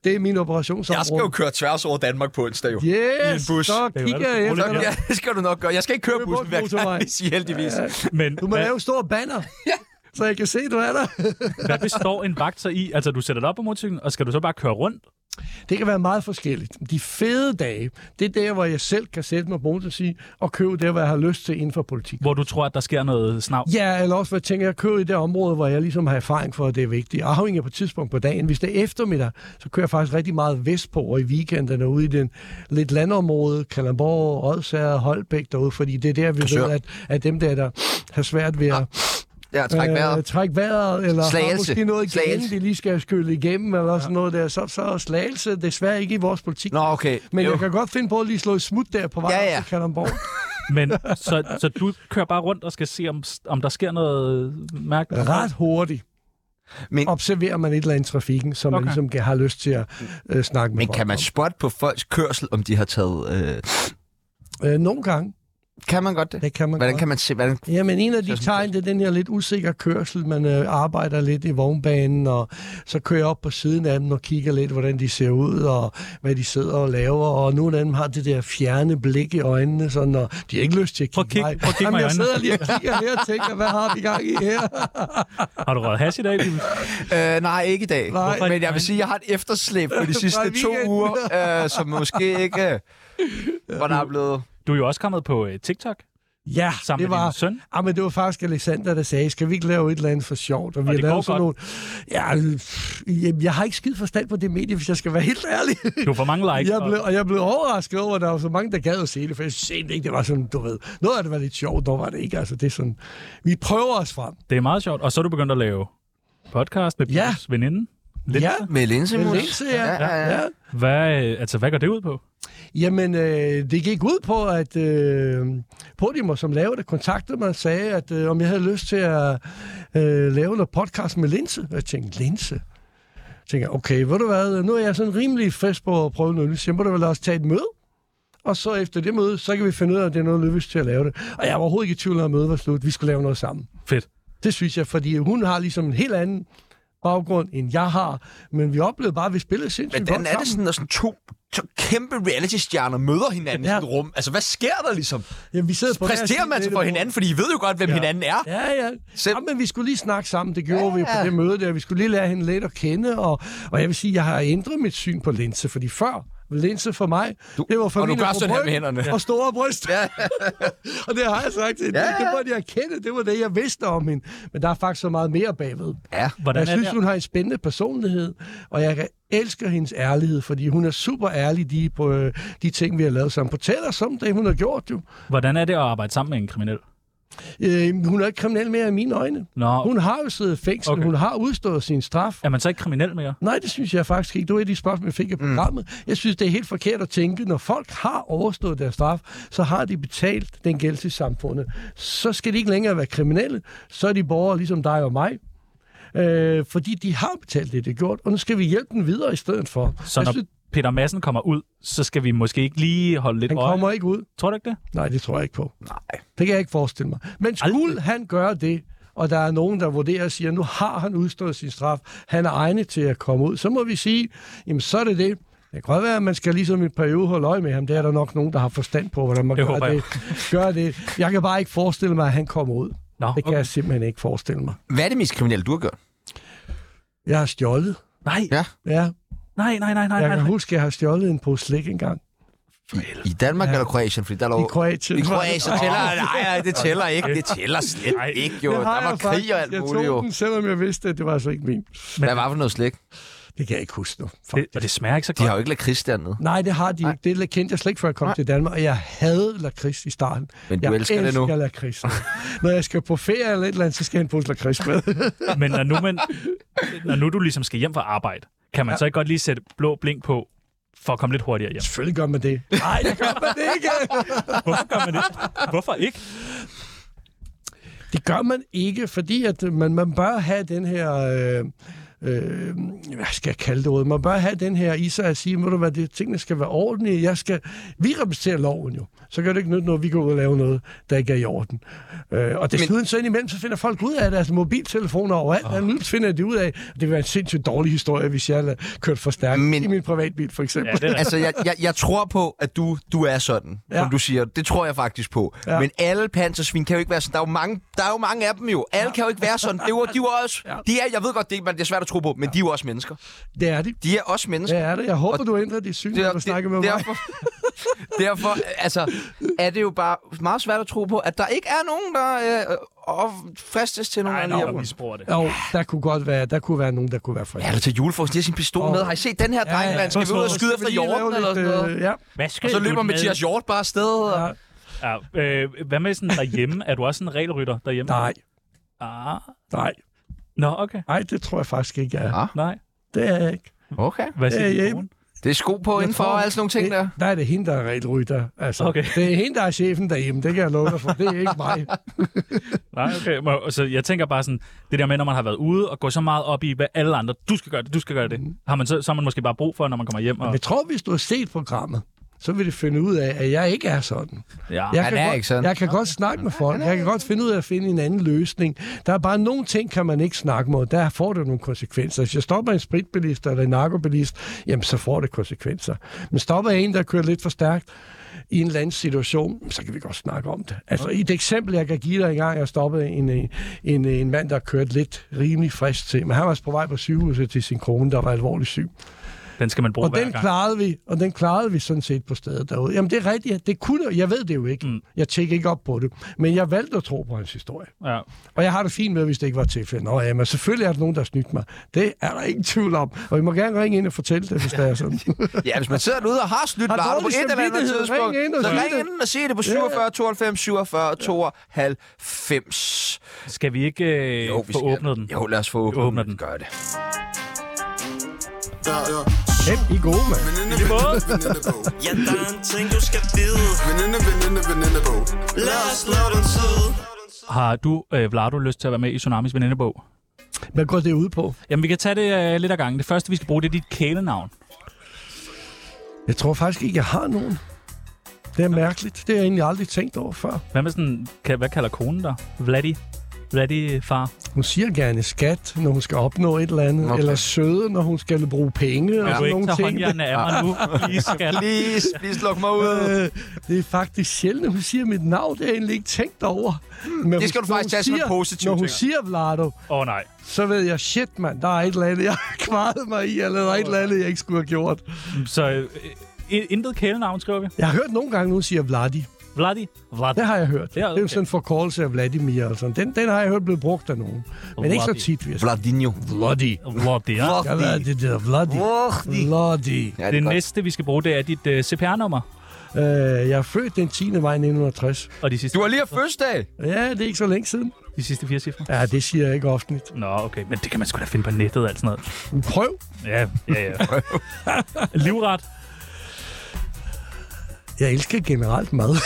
[SPEAKER 3] det er min operationsområde.
[SPEAKER 2] Jeg skal jo køre tværs over Danmark på onsdag, jo.
[SPEAKER 1] i en
[SPEAKER 3] Yes,
[SPEAKER 1] bus.
[SPEAKER 3] så
[SPEAKER 1] Det er jo
[SPEAKER 3] kigger
[SPEAKER 1] altid
[SPEAKER 3] jeg
[SPEAKER 1] roligt.
[SPEAKER 3] efter dig.
[SPEAKER 2] Ja, det skal du nok gøre. Jeg skal ikke køre
[SPEAKER 3] Købe
[SPEAKER 2] bussen hver
[SPEAKER 3] motorvej.
[SPEAKER 2] gang, hvis I *laughs* heldigvis.
[SPEAKER 1] Men
[SPEAKER 3] Du må
[SPEAKER 1] hvad,
[SPEAKER 3] lave en stor
[SPEAKER 1] *laughs*
[SPEAKER 3] banner, så jeg kan se, du er der.
[SPEAKER 1] hvad består en vagt så i? Altså, du sætter dig op på motorcyklen, og skal du så bare køre rundt?
[SPEAKER 3] Det kan være meget forskelligt. De fede dage, det er der, hvor jeg selv kan sætte mig på motorcykel og sige, og købe det, hvad jeg har lyst til inden for politik.
[SPEAKER 1] Hvor du tror, at der sker noget snav?
[SPEAKER 3] Ja, eller også, hvad jeg tænker jeg, kører i det område, hvor jeg ligesom har erfaring for, at det er vigtigt. Afhængig på tidspunkt på dagen. Hvis det er eftermiddag, så kører jeg faktisk rigtig meget vestpå, og i weekenderne ude i den lidt landområde, Kalamborg, Odsager, Holbæk derude, fordi det er der, vi
[SPEAKER 2] Korsør.
[SPEAKER 3] ved, at, at dem der, der har svært ved at
[SPEAKER 2] Ja, træk
[SPEAKER 3] Øh,
[SPEAKER 2] vejret.
[SPEAKER 3] træk vejret, eller har
[SPEAKER 2] Slagelse.
[SPEAKER 3] måske noget igen,
[SPEAKER 2] Slagelse.
[SPEAKER 3] de lige skal skylle igennem, eller sådan noget der. Så, så er slagelse desværre ikke i vores politik.
[SPEAKER 2] Nå, okay.
[SPEAKER 3] Men
[SPEAKER 2] Jo.
[SPEAKER 3] jeg kan godt finde på at lige slå et smut der på vej
[SPEAKER 2] Ja,
[SPEAKER 3] ja,
[SPEAKER 2] ja.
[SPEAKER 3] ja. til Kalamborg.
[SPEAKER 1] Men så, så du kører bare rundt og skal se, om, om der sker noget mærkeligt?
[SPEAKER 3] Ret hurtigt
[SPEAKER 2] Men-
[SPEAKER 3] Men... observerer man et eller andet i trafikken, som okay.
[SPEAKER 1] Okay.
[SPEAKER 3] man ligesom kan- har lyst til at øh, snakke med
[SPEAKER 2] Men kan
[SPEAKER 3] folk
[SPEAKER 2] man spotte på folks kørsel, om de har taget... Øh...
[SPEAKER 3] om. Øh, nogle gange,
[SPEAKER 2] Kan man godt det?
[SPEAKER 3] det kan man
[SPEAKER 2] Hvordan
[SPEAKER 3] godt.
[SPEAKER 2] kan man se... Hvordan...
[SPEAKER 3] Jamen, en af de
[SPEAKER 2] Sådan
[SPEAKER 3] tegn, det er den her lidt usikre kørsel. Man øh, arbejder lidt i vognbanen, og så kører jeg op på siden af dem og kigger lidt, hvordan de ser ud, og hvad de sidder og laver. Og nogle af dem har det der fjerne blik i øjnene, sådan, og de har ikke lyst til at
[SPEAKER 1] Prøv
[SPEAKER 3] kigge
[SPEAKER 1] at kigge-
[SPEAKER 3] mig.
[SPEAKER 1] prøv at kigge
[SPEAKER 3] Jamen,
[SPEAKER 1] mig i
[SPEAKER 3] jeg
[SPEAKER 1] øjnene.
[SPEAKER 3] sidder lige og kigger her og tænker, hvad har vi gang i her?
[SPEAKER 1] Har du røget hash i dag? Bibel?
[SPEAKER 2] Øh, nej, ikke i dag.
[SPEAKER 3] Nej.
[SPEAKER 2] Nej. Men jeg vil sige, at jeg har et efterslæb
[SPEAKER 3] *laughs*
[SPEAKER 2] på de sidste
[SPEAKER 3] Fra
[SPEAKER 2] to
[SPEAKER 3] weekenden.
[SPEAKER 2] uger, øh, som måske ikke... Øh, hvor der er blevet...
[SPEAKER 1] Du er jo også kommet på øh, TikTok
[SPEAKER 3] Ja,
[SPEAKER 1] sammen
[SPEAKER 3] det
[SPEAKER 1] med
[SPEAKER 3] var,
[SPEAKER 1] din søn.
[SPEAKER 3] Ah, men det var faktisk Alexander, der sagde, skal vi ikke lave et eller andet for sjovt? Og vi
[SPEAKER 1] det
[SPEAKER 3] har
[SPEAKER 1] går
[SPEAKER 3] lavet sådan nogle... Ja, pff, jamen, jeg har ikke skidt forstand på det medie, hvis jeg skal være helt ærlig.
[SPEAKER 1] Du får mange likes.
[SPEAKER 3] Jeg
[SPEAKER 1] og-
[SPEAKER 3] blev, og jeg blev overrasket over, at der var så mange, der gad at se det, for jeg synes egentlig ikke, det var sådan, du ved. Noget af det var lidt sjovt, noget var det ikke. Altså, det er sådan, vi prøver os frem.
[SPEAKER 1] Det er meget sjovt. Og så er du begyndt at lave podcast med
[SPEAKER 3] Ja.
[SPEAKER 1] Bibels ja. veninde. Lidt.
[SPEAKER 3] Ja,
[SPEAKER 2] Med linse,
[SPEAKER 3] med
[SPEAKER 2] mus.
[SPEAKER 3] linse, ja.
[SPEAKER 2] Ja, ja, ja.
[SPEAKER 3] ja.
[SPEAKER 1] Hvad, øh, altså, hvad går det ud på?
[SPEAKER 3] Jamen, øh, det gik ud på, at øh, Podimo, som lavede det, kontaktede mig og sagde, at øh, om jeg havde lyst til at øh, lave noget podcast med linse. Og jeg tænkte, linse? Jeg tænker, okay, ved du hvad, nu er jeg sådan rimelig frisk på at prøve noget nyt. Så må du vel også tage et møde? Og så efter det møde, så kan vi finde ud af, om det er noget, lykkes til at lave det. Og jeg var overhovedet ikke i tvivl om, at mødet var slut. Vi skulle lave noget sammen.
[SPEAKER 1] Fedt.
[SPEAKER 3] Det synes jeg, fordi hun har ligesom en helt anden baggrund, end jeg har. Men vi oplevede bare, at vi spillede sindssygt
[SPEAKER 2] Men
[SPEAKER 3] godt
[SPEAKER 2] hvordan er
[SPEAKER 3] sammen.
[SPEAKER 2] det sådan, når sådan to, to kæmpe reality-stjerner møder hinanden ja. i
[SPEAKER 3] Ja.
[SPEAKER 2] et rum? Altså, hvad sker der ligesom?
[SPEAKER 3] Jamen, vi sidder på hver
[SPEAKER 2] Præsterer
[SPEAKER 3] sin
[SPEAKER 2] man
[SPEAKER 3] del
[SPEAKER 2] sig
[SPEAKER 3] af
[SPEAKER 2] for
[SPEAKER 3] bordet.
[SPEAKER 2] hinanden? Fordi I ved jo godt, hvem ja. hinanden er.
[SPEAKER 3] Ja, ja.
[SPEAKER 2] Selv-
[SPEAKER 3] ja. men vi skulle lige snakke sammen. Det gjorde ja. vi på det møde der. Vi skulle lige lære hende lidt at kende. Og, og jeg vil sige, jeg har ændret mit syn på linse, fordi før linse for mig, du, det var
[SPEAKER 2] og du
[SPEAKER 3] familie
[SPEAKER 2] gør
[SPEAKER 3] på
[SPEAKER 2] sådan her
[SPEAKER 3] bryg
[SPEAKER 2] med hænderne.
[SPEAKER 3] Og store bryst. Ja. *laughs* og det har jeg sagt. Det, ja. det måtte jeg kende. Det var det, jeg vidste om hende. Men der er faktisk så meget mere bagved.
[SPEAKER 2] Ja.
[SPEAKER 1] Hvordan
[SPEAKER 3] jeg
[SPEAKER 1] er
[SPEAKER 3] synes,
[SPEAKER 1] det?
[SPEAKER 3] hun har en spændende personlighed, og jeg elsker hendes ærlighed, fordi hun er super ærlig de, på øh, de ting, vi har lavet sammen. Fortæl os om det, hun har gjort jo.
[SPEAKER 1] Hvordan er det at arbejde sammen med en kriminel?
[SPEAKER 3] Øh, hun er ikke kriminel mere i mine øjne.
[SPEAKER 1] Nå,
[SPEAKER 3] Hun har jo siddet i fængsel,
[SPEAKER 1] Okay.
[SPEAKER 3] okay. hun har udstået sin straf.
[SPEAKER 1] er man så ikke kriminel mere?
[SPEAKER 3] Nej, det synes jeg faktisk ikke. Det var et af de spørgsmål, jeg fik i programmet. Jeg synes, det er helt forkert at tænke, når folk har overstået deres straf, så har de betalt den gæld til samfundet. Så skal de ikke længere være kriminelle, så er de borgere ligesom dig og mig. Øh, fordi de har betalt det, de har gjort, og nu skal vi hjælpe dem videre i stedet for.
[SPEAKER 1] Så
[SPEAKER 3] Jeg
[SPEAKER 1] når
[SPEAKER 3] synes,
[SPEAKER 1] Peter Madsen kommer ud, så skal vi måske ikke lige holde lidt
[SPEAKER 3] han
[SPEAKER 1] øje.
[SPEAKER 3] kommer ikke ud.
[SPEAKER 1] Tror du ikke det?
[SPEAKER 3] Nej, det tror jeg ikke på. Nej. Det kan jeg ikke forestille mig. Men skulle Aldrig. han gøre det, og der er nogen, der vurderer og siger, nu har han udstået sin straf, han er egnet til at komme ud, så må vi sige, jamen så er det det. Det kan godt være, at man skal ligesom i en periode holde øje med ham. Det er der nok nogen, der har forstand på, hvordan man
[SPEAKER 1] Det håber
[SPEAKER 3] gør,
[SPEAKER 1] jeg.
[SPEAKER 3] det. gør det. Jeg kan bare ikke forestille mig, at han kommer ud.
[SPEAKER 1] Nå,
[SPEAKER 3] Det kan jeg simpelthen ikke forestille mig.
[SPEAKER 2] Hvad er det mest kriminelle, du har gjort?
[SPEAKER 3] Jeg har stjålet.
[SPEAKER 1] Nej,
[SPEAKER 2] Ja.
[SPEAKER 3] Ja,
[SPEAKER 1] nej, nej, nej, nej,
[SPEAKER 3] jeg
[SPEAKER 1] nej. nej.
[SPEAKER 3] kan huske, at jeg har stjålet en pose slik engang.
[SPEAKER 2] I Danmark ja. eller Kroatien? Fordi der er
[SPEAKER 3] I
[SPEAKER 2] lov...
[SPEAKER 3] Kroatien.
[SPEAKER 2] I Kroatien tæller...
[SPEAKER 3] *laughs*
[SPEAKER 2] Nej, nej, det tæller ikke. Det tæller slet
[SPEAKER 1] Nej.
[SPEAKER 2] ikke, jo. Der
[SPEAKER 3] Det har
[SPEAKER 2] var
[SPEAKER 3] jeg
[SPEAKER 2] krig og
[SPEAKER 3] faktisk.
[SPEAKER 2] alt
[SPEAKER 3] Jeg
[SPEAKER 2] muligt, jo.
[SPEAKER 3] tog den, selvom jeg vidste, at det var altså ikke min.
[SPEAKER 2] Hvad var for noget slik?
[SPEAKER 3] Det kan jeg ikke huske nu.
[SPEAKER 1] Det, og det smager ikke så
[SPEAKER 2] De
[SPEAKER 1] godt.
[SPEAKER 2] har jo ikke lakrids dernede.
[SPEAKER 3] Nej, det har de ikke. Det kendte jeg slet ikke, før jeg kom Nej. til Danmark, og jeg havde lakrids i starten.
[SPEAKER 2] Men du
[SPEAKER 3] jeg
[SPEAKER 2] elsker det nu.
[SPEAKER 3] elsker lakrids. Når jeg skal på ferie eller et eller andet, så skal jeg have en pose lakrids med.
[SPEAKER 2] *laughs*
[SPEAKER 1] Men når nu, man, når nu du ligesom skal hjem fra arbejde, kan man så ikke godt lige sætte blå blink på, for at komme lidt hurtigere hjem?
[SPEAKER 3] Selvfølgelig gør man det. Nej, det gør man det ikke.
[SPEAKER 1] Hvorfor gør man det? Hvorfor ikke?
[SPEAKER 3] Det gør man ikke, fordi at man, man bør have den her... Øh, øh, hvad skal jeg kalde det ordet? Man bør have den her i sig at sige, må du hvad, det, tingene skal være ordentlige. Jeg skal, vi repræsenterer loven jo. Så gør det ikke nytte noget, at vi går ud og laver noget, der ikke er i orden. Øh, og desuden Men... så indimellem, så finder folk ud af deres mobiltelefoner overalt. Oh. Nu finder de ud af, det vil være en sindssygt dårlig historie, hvis jeg havde kørt for stærkt
[SPEAKER 2] Men-
[SPEAKER 3] Men... i min privatbil, for eksempel.
[SPEAKER 1] Ja, det er
[SPEAKER 2] Altså, jeg, jeg, jeg tror på, at du, du er sådan, ja.
[SPEAKER 3] Ja.
[SPEAKER 2] som du siger. Det tror jeg faktisk på. Ja.
[SPEAKER 3] Ja.
[SPEAKER 2] Men alle pansersvin kan jo ikke være sådan. Der er jo mange, der er jo mange af dem jo. Alle ja. kan jo ikke være sådan. Det er jo, de er jo også... Ja.
[SPEAKER 3] Ja.
[SPEAKER 2] De er, jeg ved godt, det, er- men det er svært at tro på, men ja. de er jo også mennesker.
[SPEAKER 3] *laughs* det er det.
[SPEAKER 2] De er også mennesker.
[SPEAKER 3] Det er det. Jeg håber, du ændrer dit syn, når du snakker med mig.
[SPEAKER 2] derfor, derfor, altså, er det jo bare meget svært at tro på, at der ikke er nogen, der øh, og fristes til nogen.
[SPEAKER 1] Nej,
[SPEAKER 2] af de
[SPEAKER 1] nej,
[SPEAKER 2] her
[SPEAKER 1] der
[SPEAKER 2] våben.
[SPEAKER 1] misbruger det.
[SPEAKER 3] Jo, der kunne godt være, der kunne være nogen, der kunne være fri.
[SPEAKER 2] Ja, der til julefrokost, de har sin pistol
[SPEAKER 3] Åh.
[SPEAKER 2] med. Har I set den her dreng, ja, ja. Skal vi ud og skyde efter jorden eller sådan noget?
[SPEAKER 3] Ja.
[SPEAKER 1] Hvad
[SPEAKER 2] Og
[SPEAKER 1] skal
[SPEAKER 2] så
[SPEAKER 1] du
[SPEAKER 2] løber
[SPEAKER 1] med?
[SPEAKER 2] Mathias Hjort bare afsted. Og...
[SPEAKER 3] ja.
[SPEAKER 1] Ja, øh, hvad med sådan derhjemme? er du også en regelrytter derhjemme?
[SPEAKER 3] Nej,
[SPEAKER 1] Ah.
[SPEAKER 3] nej.
[SPEAKER 1] Nå, okay.
[SPEAKER 3] Nej, det tror jeg faktisk ikke, jeg er.
[SPEAKER 2] Ja.
[SPEAKER 1] Nej.
[SPEAKER 3] Det er jeg ikke.
[SPEAKER 2] Okay.
[SPEAKER 1] Hvad siger
[SPEAKER 3] Øh,
[SPEAKER 1] din
[SPEAKER 3] ja,
[SPEAKER 1] kone?
[SPEAKER 2] Det er sko på
[SPEAKER 3] Jeg
[SPEAKER 2] indenfor
[SPEAKER 3] tror-
[SPEAKER 2] og alle sådan nogle ting der.
[SPEAKER 3] Det, der er det hende, der er regelrytter. Altså,
[SPEAKER 1] Okay.
[SPEAKER 3] Det er hende, der er chefen derhjemme. Det kan jeg love dig for. Det er ikke
[SPEAKER 2] *laughs*
[SPEAKER 3] mig.
[SPEAKER 1] Nej, okay. Må- Så jeg tænker bare sådan, det der med, når man har været ude og går så meget op i, hvad alle andre, du skal gøre det, du skal gøre det, har man så, så har man måske bare brug for, når man kommer hjem.
[SPEAKER 3] Men
[SPEAKER 1] Og,
[SPEAKER 3] jeg tror, hvis du har set programmet, så vil det finde ud af, at jeg ikke er sådan.
[SPEAKER 1] ja,
[SPEAKER 3] Jeg
[SPEAKER 2] Han
[SPEAKER 3] kan
[SPEAKER 2] er
[SPEAKER 3] godt,
[SPEAKER 2] ikke sådan.
[SPEAKER 3] Jeg kan godt snakke med folk. Jeg kan godt finde ud af at finde en anden løsning. Der er bare nogle ting, kan man ikke snakke med, og der får det nogle konsekvenser. Hvis jeg stopper en spritbilist eller en narkobilist, jamen så får det konsekvenser. Men stopper jeg en, der kører lidt for stærkt, i en eller anden situation, så kan vi godt snakke om det. Altså, i et eksempel, jeg kan give dig engang, jeg stoppede en, øh, en, øh, en mand, der kørte lidt rimelig frisk til, men han var altså på vej på sygehuset til sin kone, der var alvorligt syg.
[SPEAKER 1] den skal man bruge
[SPEAKER 3] Og
[SPEAKER 1] hver
[SPEAKER 3] den
[SPEAKER 1] gang.
[SPEAKER 3] klarede vi, og den klarede vi sådan set på stedet derude. Jamen det er rigtigt, det kunne, jeg ved det jo ikke.
[SPEAKER 1] Mm.
[SPEAKER 3] Mm. Jeg tjekker ikke op på det, men jeg valgte at tro på hans historie.
[SPEAKER 1] Ja.
[SPEAKER 3] Og jeg har det fint med, hvis det ikke var tilfældet. Nå ja, men selvfølgelig er der nogen, der har snydt mig. Det er der ingen tvivl om. Og I må gerne ringe ind og fortælle det, hvis det er sådan. *laughs*
[SPEAKER 2] Ja, hvis man sidder derude og har snydt
[SPEAKER 3] Har
[SPEAKER 2] Lars på et
[SPEAKER 3] dårlig
[SPEAKER 2] eller andet
[SPEAKER 3] samvittighed,
[SPEAKER 2] tidspunkt,
[SPEAKER 3] ring ind og
[SPEAKER 2] så
[SPEAKER 3] sig
[SPEAKER 2] ring
[SPEAKER 3] det.
[SPEAKER 2] ind og se det på 47 92 47 92.
[SPEAKER 1] Skal vi ikke øh, jo, vi få skal. åbnet den?
[SPEAKER 2] Jo, lad os få
[SPEAKER 1] Vi åbner
[SPEAKER 2] åbnet
[SPEAKER 1] den.
[SPEAKER 2] den. Gør det.
[SPEAKER 4] Ja, ja.
[SPEAKER 3] Hvem I er gode, mand.
[SPEAKER 4] Veninde, veninde, venindebog.
[SPEAKER 6] Ja, der er en ting, du skal vide
[SPEAKER 4] Veninde, veninde, venindebog.
[SPEAKER 6] Lad os lave den tid
[SPEAKER 1] Har du, øh, Vlado, lyst til at være med i Tsunamis venindebog?
[SPEAKER 3] Hvad går det ud på?
[SPEAKER 1] Jamen, vi kan tage det øh, lidt ad gangen. Det første, vi skal bruge, det er dit kælenavn.
[SPEAKER 3] Jeg tror faktisk ikke, jeg har nogen. Det er mærkeligt. Det har jeg egentlig aldrig tænkt over før.
[SPEAKER 1] Hvad med sådan, kan, hvad kalder konen dig? Vladdy? Vladdy, far?
[SPEAKER 3] Hun siger gerne skat, når hun skal opnå et eller andet.
[SPEAKER 2] Okay.
[SPEAKER 3] Okay. Eller søde, når hun skal bruge penge.
[SPEAKER 1] Kan
[SPEAKER 3] Og
[SPEAKER 1] du
[SPEAKER 3] sådan
[SPEAKER 1] ikke
[SPEAKER 3] nogle
[SPEAKER 1] tage
[SPEAKER 3] ting.
[SPEAKER 1] håndjernet af mig nu? Please, skat.
[SPEAKER 2] Please, please luk mig ud.
[SPEAKER 3] Øh, det er faktisk sjældent, at hun siger mit navn. Det har jeg egentlig ikke tænkt over. Men
[SPEAKER 2] Hmm, det skal
[SPEAKER 3] hun-
[SPEAKER 2] du
[SPEAKER 3] når
[SPEAKER 2] faktisk
[SPEAKER 3] hun
[SPEAKER 2] tage som en
[SPEAKER 3] siger-
[SPEAKER 2] positiv
[SPEAKER 3] Når hun
[SPEAKER 2] ting.
[SPEAKER 3] siger Vlado,
[SPEAKER 1] Åh, oh, nej.
[SPEAKER 3] så ved jeg, shit mand, der er et eller andet, jeg har kvaret mig i, eller der er et eller andet, jeg ikke skulle have gjort.
[SPEAKER 1] Så øh, øh, intet kælenavn, skriver vi.
[SPEAKER 3] Jeg har hørt nogle gange, nogen siger Vladi.
[SPEAKER 1] Vladdy? Vladdy.
[SPEAKER 3] Det har jeg hørt.
[SPEAKER 1] Ja,
[SPEAKER 3] Det er jo
[SPEAKER 1] okay.
[SPEAKER 3] sådan en forkortelse af Vladimir. Og sådan. Den, den har jeg hørt blive brugt af nogen. Men ikke så
[SPEAKER 1] Vladi.
[SPEAKER 3] tit, vil jeg sige.
[SPEAKER 2] Vladinho.
[SPEAKER 3] Vladi.
[SPEAKER 1] Vladdy, ja.
[SPEAKER 3] Jeg ved, at det der Vladi.
[SPEAKER 2] Vladi.
[SPEAKER 3] Vladi.
[SPEAKER 2] Ja,
[SPEAKER 1] Det,
[SPEAKER 2] det er godt.
[SPEAKER 1] næste, vi skal bruge, det er dit uh, CPR-nummer.
[SPEAKER 3] Øh, jeg er født den 10. maj 1960.
[SPEAKER 1] Og de sidste,
[SPEAKER 2] Du har lige haft fødselsdag.
[SPEAKER 3] Ja, det er ikke så længe siden.
[SPEAKER 1] de sidste fire cifre.
[SPEAKER 3] Ja, det siger jeg ikke offentligt.
[SPEAKER 1] Nå, okay. Men det kan man sgu da finde på nettet og alt sådan noget.
[SPEAKER 3] Men Prøv.
[SPEAKER 1] Ja, ja, ja. Livret.
[SPEAKER 3] Jeg elsker generelt mad.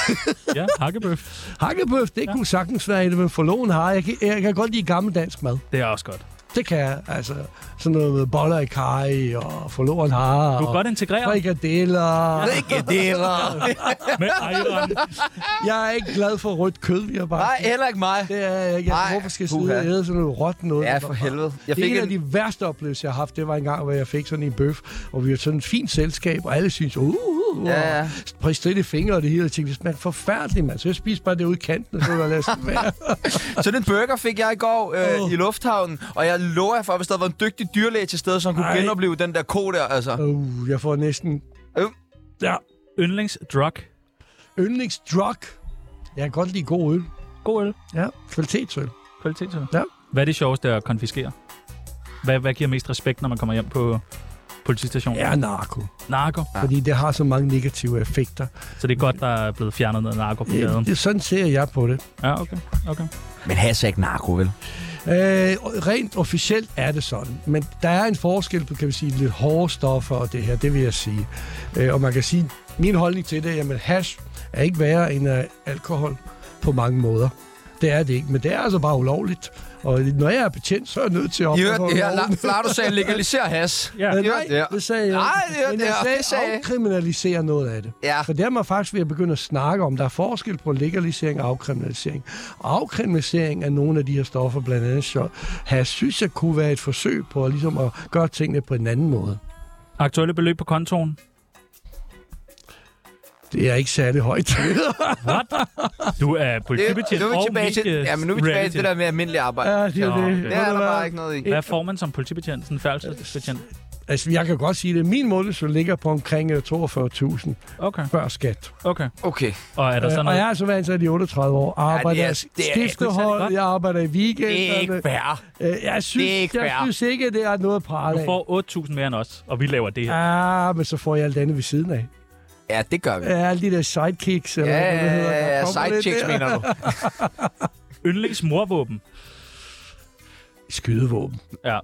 [SPEAKER 1] Ja, hakkebøf.
[SPEAKER 3] Hakkebøf, det kunne sagtens være et, men forloven har. Jeg kan, jeg kan godt lide gammel dansk mad.
[SPEAKER 1] Det er også godt.
[SPEAKER 3] Det kan jeg. Altså, sådan noget med boller i kaj, og forloven har.
[SPEAKER 1] Du er
[SPEAKER 3] og
[SPEAKER 1] godt integreret
[SPEAKER 3] Frikadeller.
[SPEAKER 2] Ikke det,
[SPEAKER 1] med ejeren.
[SPEAKER 3] Jeg er ikke glad for rødt kød, vi har bare.
[SPEAKER 2] Nej, heller ikke mig.
[SPEAKER 3] Det er jeg ikke. Jeg-
[SPEAKER 2] Nej,
[SPEAKER 3] Hvorfor skal jeg sidde
[SPEAKER 2] puha.
[SPEAKER 3] og æde sådan noget råt noget?
[SPEAKER 2] Ja, for helvede. Jeg
[SPEAKER 3] det
[SPEAKER 2] fik
[SPEAKER 3] er en af
[SPEAKER 2] en...
[SPEAKER 3] de værste oplevelser, jeg har haft. Det var en gang, hvor jeg fik sådan en bøf, og vi var sådan et fint selskab, og alle synes, uh, uh, uh
[SPEAKER 2] Ja, ja.
[SPEAKER 3] og stridte fingre og det hele. Jeg tænkte, det smager forfærdeligt, mand. Så jeg spiste bare det ude i kanten, og så var jeg
[SPEAKER 2] *laughs*
[SPEAKER 3] være.
[SPEAKER 2] Sådan en burger fik jeg i går øh,
[SPEAKER 3] Åh.
[SPEAKER 2] i lufthavnen, og jeg lover jer for, at hvis der var en dygtig dyrlæge til stede, som kunne
[SPEAKER 3] Ej.
[SPEAKER 2] genopleve den der ko der, altså.
[SPEAKER 3] Uh, jeg får næsten...
[SPEAKER 2] Øv.
[SPEAKER 3] Ja.
[SPEAKER 1] Yndlingsdrug.
[SPEAKER 3] Yndlingsdrug. Jeg kan godt lide god øl.
[SPEAKER 1] God øl.
[SPEAKER 3] Ja, kvalitetsøl.
[SPEAKER 1] Kvalitetsøl.
[SPEAKER 3] Ja.
[SPEAKER 1] Hvad er det sjoveste at konfiskere? Hvad, hvad giver mest respekt, når man kommer hjem på politistationen?
[SPEAKER 3] Ja, narko.
[SPEAKER 1] Narko.
[SPEAKER 3] Fordi det har så mange negative effekter.
[SPEAKER 1] Så det er godt, der er blevet fjernet noget narko på
[SPEAKER 3] Ja,
[SPEAKER 1] gaden.
[SPEAKER 3] det, sådan ser jeg på det.
[SPEAKER 1] Ja, okay. okay.
[SPEAKER 2] Men has er ikke narko, vel?
[SPEAKER 3] Øh, rent officielt er det sådan, men der er en forskel på, kan vi sige, lidt hårde stoffer og det her, det vil jeg sige. Øh, og man kan sige, min holdning til det, jamen hash er ikke værre end øh, alkohol på mange måder. Det er det ikke, men det er altså bare ulovligt. Og når jeg er betjent, så er jeg nødt til at
[SPEAKER 2] I hørte
[SPEAKER 3] opretholde
[SPEAKER 2] det her.
[SPEAKER 3] loven.
[SPEAKER 2] La- Flardo sagde, legaliser has.
[SPEAKER 1] Ja.
[SPEAKER 3] Øh,
[SPEAKER 2] I
[SPEAKER 3] Nej,
[SPEAKER 2] hørte det her.
[SPEAKER 3] det sagde jeg.
[SPEAKER 2] Nej, det hørte
[SPEAKER 3] men
[SPEAKER 2] det
[SPEAKER 3] jeg
[SPEAKER 2] her.
[SPEAKER 3] sagde,
[SPEAKER 2] Det sagde jeg. Ah.
[SPEAKER 3] afkriminalisere noget af det.
[SPEAKER 2] Ja.
[SPEAKER 3] For der er man faktisk ved at begynde at snakke om, der er forskel på legalisering og afkriminalisering. Afkriminalisering af nogle af de her stoffer, blandt andet så has, synes jeg kunne være et forsøg på at, ligesom at gøre tingene på en anden måde.
[SPEAKER 1] Aktuelle beløb på kontoen.
[SPEAKER 3] Det er ikke særlig
[SPEAKER 2] *laughs*
[SPEAKER 3] højt.
[SPEAKER 1] What? Du er politibetjent
[SPEAKER 2] Ah. nu er
[SPEAKER 1] og
[SPEAKER 2] vi tilbage til,
[SPEAKER 1] medie-
[SPEAKER 2] ja, men nu er vi tilbage til det
[SPEAKER 1] reality.
[SPEAKER 2] der med almindelig arbejde.
[SPEAKER 3] ja, det
[SPEAKER 1] Nå,
[SPEAKER 3] er det.
[SPEAKER 1] okay.
[SPEAKER 2] Det er der bare ikke noget i.
[SPEAKER 1] Hvad får man som politibetjent? Sådan en færdselsbetjent?
[SPEAKER 3] Altså, jeg kan godt sige det. Min måned så ligger på omkring øh, 42.000
[SPEAKER 1] Okay,
[SPEAKER 3] før skat.
[SPEAKER 1] okay.
[SPEAKER 2] Okay.
[SPEAKER 1] Og er der
[SPEAKER 3] Øh,
[SPEAKER 1] sådan
[SPEAKER 3] og jeg
[SPEAKER 1] noget?
[SPEAKER 3] er altså været ansat i 38 år. Arbejder
[SPEAKER 2] det er- det
[SPEAKER 3] ja,
[SPEAKER 2] er
[SPEAKER 1] særlig godt.
[SPEAKER 3] skiftehold, jeg arbejder i weekenderne.
[SPEAKER 2] Det er ikke fair.
[SPEAKER 3] Øh, jeg synes,
[SPEAKER 2] Det er ikke
[SPEAKER 3] jeg
[SPEAKER 2] fair.
[SPEAKER 3] synes ikke, at det er noget at prale
[SPEAKER 1] Du
[SPEAKER 3] af.
[SPEAKER 1] får 8.000 mere end os, og vi laver det her.
[SPEAKER 3] Ah, men så får jeg alt andet ved siden af.
[SPEAKER 2] Ja, det gør vi.
[SPEAKER 3] Ja, alle de der sidekicks, eller
[SPEAKER 2] Ja,
[SPEAKER 3] hvad det hedder.
[SPEAKER 2] ja,
[SPEAKER 3] der
[SPEAKER 2] ja,
[SPEAKER 3] kommer lidt
[SPEAKER 2] sidechicks
[SPEAKER 3] der.
[SPEAKER 2] mener du.
[SPEAKER 1] Yndlings morvåben.
[SPEAKER 3] Skydevåben.
[SPEAKER 1] Ja.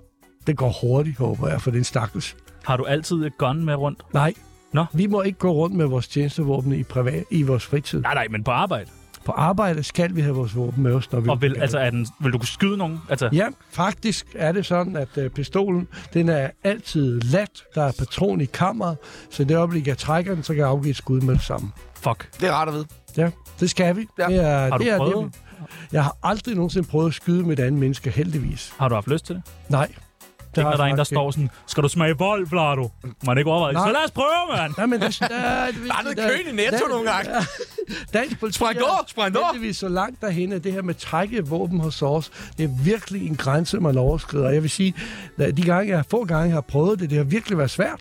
[SPEAKER 3] Det går hurtigt, håber jeg, for den stakkels.
[SPEAKER 1] Har du altid et gun med rundt?
[SPEAKER 3] Nej.
[SPEAKER 1] Nå.
[SPEAKER 3] Vi må ikke gå rundt med vores tjenestevåben i, privat, i vores fritid.
[SPEAKER 1] Nej, nej, men på arbejde.
[SPEAKER 3] På arbejde skal vi have vores våben med os, når vi
[SPEAKER 1] Og vil,
[SPEAKER 3] Ja.
[SPEAKER 1] altså, er den, vil du kunne skyde nogen? Altså,
[SPEAKER 3] Ja, faktisk er det sådan, at øh, pistolen, den er altid lat. Der er patron i kammeret, så i det øjeblik, jeg trækker den, så kan jeg afgive et skud med det samme.
[SPEAKER 1] fuck.
[SPEAKER 2] Det er rart at vide.
[SPEAKER 3] Ja, det skal vi.
[SPEAKER 2] Ja.
[SPEAKER 3] Det er,
[SPEAKER 1] Har du
[SPEAKER 3] det er,
[SPEAKER 1] prøvet?
[SPEAKER 3] Det. Jeg har aldrig nogensinde prøvet at skyde med et andet menneske, heldigvis.
[SPEAKER 1] Har du haft lyst til det? det
[SPEAKER 3] Nej.
[SPEAKER 1] er ikke,
[SPEAKER 3] har
[SPEAKER 1] når der er
[SPEAKER 3] jeg
[SPEAKER 1] en, der
[SPEAKER 3] faktisk
[SPEAKER 1] står sådan, skal du smage vold, Vlado? Man er ikke overvejet.
[SPEAKER 3] Nej.
[SPEAKER 1] Så lad os prøve, mand!
[SPEAKER 3] ikke. Nej, men det, der, der,
[SPEAKER 2] *laughs* Der er noget køen i Netto nogle gange.
[SPEAKER 3] Dansk politi
[SPEAKER 2] Spræng
[SPEAKER 3] er
[SPEAKER 2] over, spræng over.
[SPEAKER 3] heldigvis så langt derhen, at det her med trække våben hos os, det er virkelig en grænse, man overskrider. Og Jeg vil sige, at de gange, jeg få gange har prøvet det, det har virkelig været svært.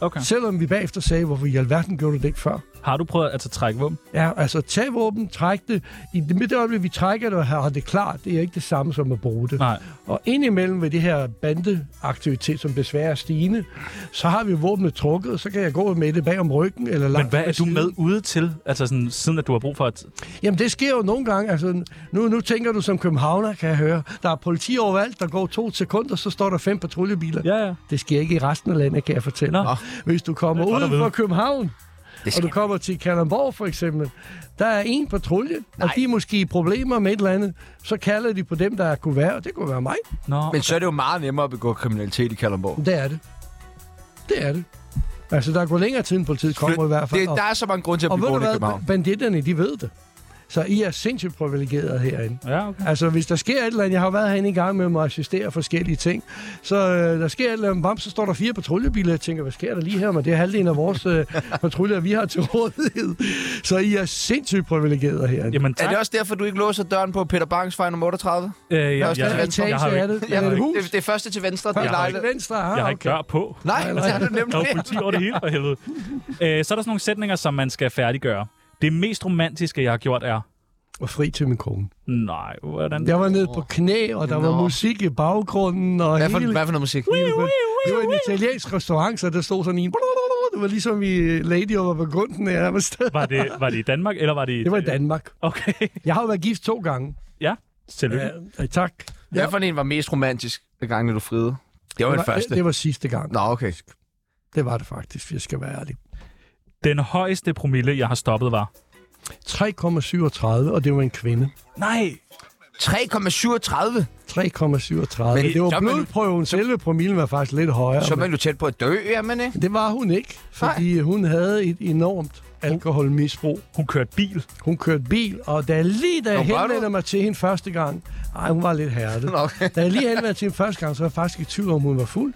[SPEAKER 1] Okay.
[SPEAKER 3] Selvom vi bagefter sagde, hvorfor i alverden gjorde du det ikke før?
[SPEAKER 1] Har du prøvet at altså, trække våben?
[SPEAKER 3] Ja, altså tag våben, træk det. I det midt øjeblik, vi trækker det og har det klart, det er ikke det samme som at bruge det.
[SPEAKER 1] Nej.
[SPEAKER 3] Og indimellem ved det her bandeaktivitet, som desværre er stigende, så har vi våbnet trukket, så kan jeg gå med det bag om ryggen. Eller
[SPEAKER 1] Men
[SPEAKER 3] langt
[SPEAKER 1] hvad er du
[SPEAKER 3] siden.
[SPEAKER 1] med ude til, altså sådan, siden at du har brug for at...
[SPEAKER 3] Jamen det sker jo nogle gange. Altså, nu, nu tænker du som københavner, kan jeg høre. Der er politi overalt, der går to sekunder, så står der fem patruljebiler.
[SPEAKER 1] Ja, ja.
[SPEAKER 3] Det sker ikke i resten af landet, kan jeg fortælle.
[SPEAKER 1] Nå.
[SPEAKER 3] Hvis du kommer
[SPEAKER 1] godt at
[SPEAKER 3] ud
[SPEAKER 1] vide.
[SPEAKER 3] fra København,
[SPEAKER 2] Det
[SPEAKER 3] og du
[SPEAKER 2] skal
[SPEAKER 3] kommer til Kalundborg for eksempel, der er en patrulje, og de er måske i problemer med et eller andet, så kalder de på dem, der kunne være, og det kunne være mig.
[SPEAKER 1] Nå,
[SPEAKER 2] Men så er det jo meget nemmere at begå kriminalitet i Kalundborg.
[SPEAKER 3] Det er det. Det er det. Altså, der går længere tid, end politiet kommer i hvert fald.
[SPEAKER 2] Det, der er så mange grunde til at
[SPEAKER 3] og
[SPEAKER 2] blive
[SPEAKER 3] ved du
[SPEAKER 2] boende i
[SPEAKER 3] hvad,
[SPEAKER 2] København.
[SPEAKER 3] banditterne, de ved det. Så I er sindssygt privilegeret herinde.
[SPEAKER 1] ja, okay.
[SPEAKER 3] Altså, hvis der sker et eller andet, jeg har været herinde en gang med mig at assistere forskellige ting, så øh, der sker et eller andet, bam, så står der fire patruljebiler, jeg tænker, hvad sker der lige her, men det er halvdelen af
[SPEAKER 1] *laughs*
[SPEAKER 3] vores øh, patruljer, vi har til rådighed. Så I er sindssygt privilegeret herinde.
[SPEAKER 1] Jamen
[SPEAKER 2] Er
[SPEAKER 1] tak.
[SPEAKER 2] det også derfor, du ikke låser døren på Peter Bangs vej nummer 38?
[SPEAKER 1] Øh, jeg,
[SPEAKER 2] er også
[SPEAKER 1] jeg,
[SPEAKER 2] den
[SPEAKER 1] jeg,
[SPEAKER 2] etage,
[SPEAKER 1] jeg, har jo
[SPEAKER 3] er
[SPEAKER 1] ikke,
[SPEAKER 3] det.
[SPEAKER 2] Ja,
[SPEAKER 3] Er det et hus?
[SPEAKER 2] Det, det er første til venstre, det
[SPEAKER 1] Jeg
[SPEAKER 2] er
[SPEAKER 1] har
[SPEAKER 2] lejlighed.
[SPEAKER 3] Venstre har,
[SPEAKER 1] jeg har ikke
[SPEAKER 3] okay.
[SPEAKER 1] dør på.
[SPEAKER 2] Nej,
[SPEAKER 3] Nej,
[SPEAKER 2] det er
[SPEAKER 3] nej.
[SPEAKER 2] det nemlig
[SPEAKER 1] Der er jo
[SPEAKER 2] ikke.
[SPEAKER 1] politi over det hele, for helvede. Øh, så er der sådan nogle sætninger, som man skal færdiggøre. Det mest romantiske, jeg har gjort, er...
[SPEAKER 3] Og fri til min kone.
[SPEAKER 1] Nej, hvordan...
[SPEAKER 3] Jeg var nede på knæ, og der var
[SPEAKER 2] Nå.
[SPEAKER 3] musik i baggrunden, og
[SPEAKER 2] Hvad for,
[SPEAKER 3] hele...
[SPEAKER 2] hvad for noget musik?
[SPEAKER 3] Det var en italiensk restaurant, så der stod sådan en... Det var ligesom i Lady over Burgunden, jeg var sted.
[SPEAKER 1] Var det, var det i Danmark, eller var det i...
[SPEAKER 3] Det var i Danmark.
[SPEAKER 1] Okay, *laughs*
[SPEAKER 3] Jeg har jo været gift to gange.
[SPEAKER 1] ja. Tillykke. Ja.
[SPEAKER 3] Ja, tak.
[SPEAKER 2] Hvad for en var mest romantisk, den gang, du friede? Det var
[SPEAKER 3] det
[SPEAKER 2] den
[SPEAKER 3] var,
[SPEAKER 2] første.
[SPEAKER 3] Det, det var sidste gang.
[SPEAKER 2] Nå, okay.
[SPEAKER 3] Det var det faktisk, hvis jeg skal være ærlig.
[SPEAKER 1] Den højeste promille, jeg har stoppet, var...
[SPEAKER 3] 3,37, og det var en kvinde.
[SPEAKER 1] Nej!
[SPEAKER 2] 3,37. Men
[SPEAKER 3] 3,37. Men, det
[SPEAKER 2] så
[SPEAKER 3] var
[SPEAKER 2] er man-
[SPEAKER 3] blodprøven. Selve promillen var faktisk lidt højere.
[SPEAKER 2] Så er
[SPEAKER 3] men
[SPEAKER 2] man jo tæt på at dø, er man ikke?
[SPEAKER 3] Det var hun ikke, fordi hun havde et enormt alkoholmisbrug.
[SPEAKER 1] Hun kørte bil.
[SPEAKER 3] Hun kørte bil, og da jeg lige da jeg
[SPEAKER 2] Nå, var du-
[SPEAKER 3] henvendte mig til hende første gang, ej, hun var lidt hærdet.
[SPEAKER 2] Nå, okay.
[SPEAKER 3] Da jeg lige henvendte mig til hende første gang, så var jeg faktisk i tvivl om, hun var fuld.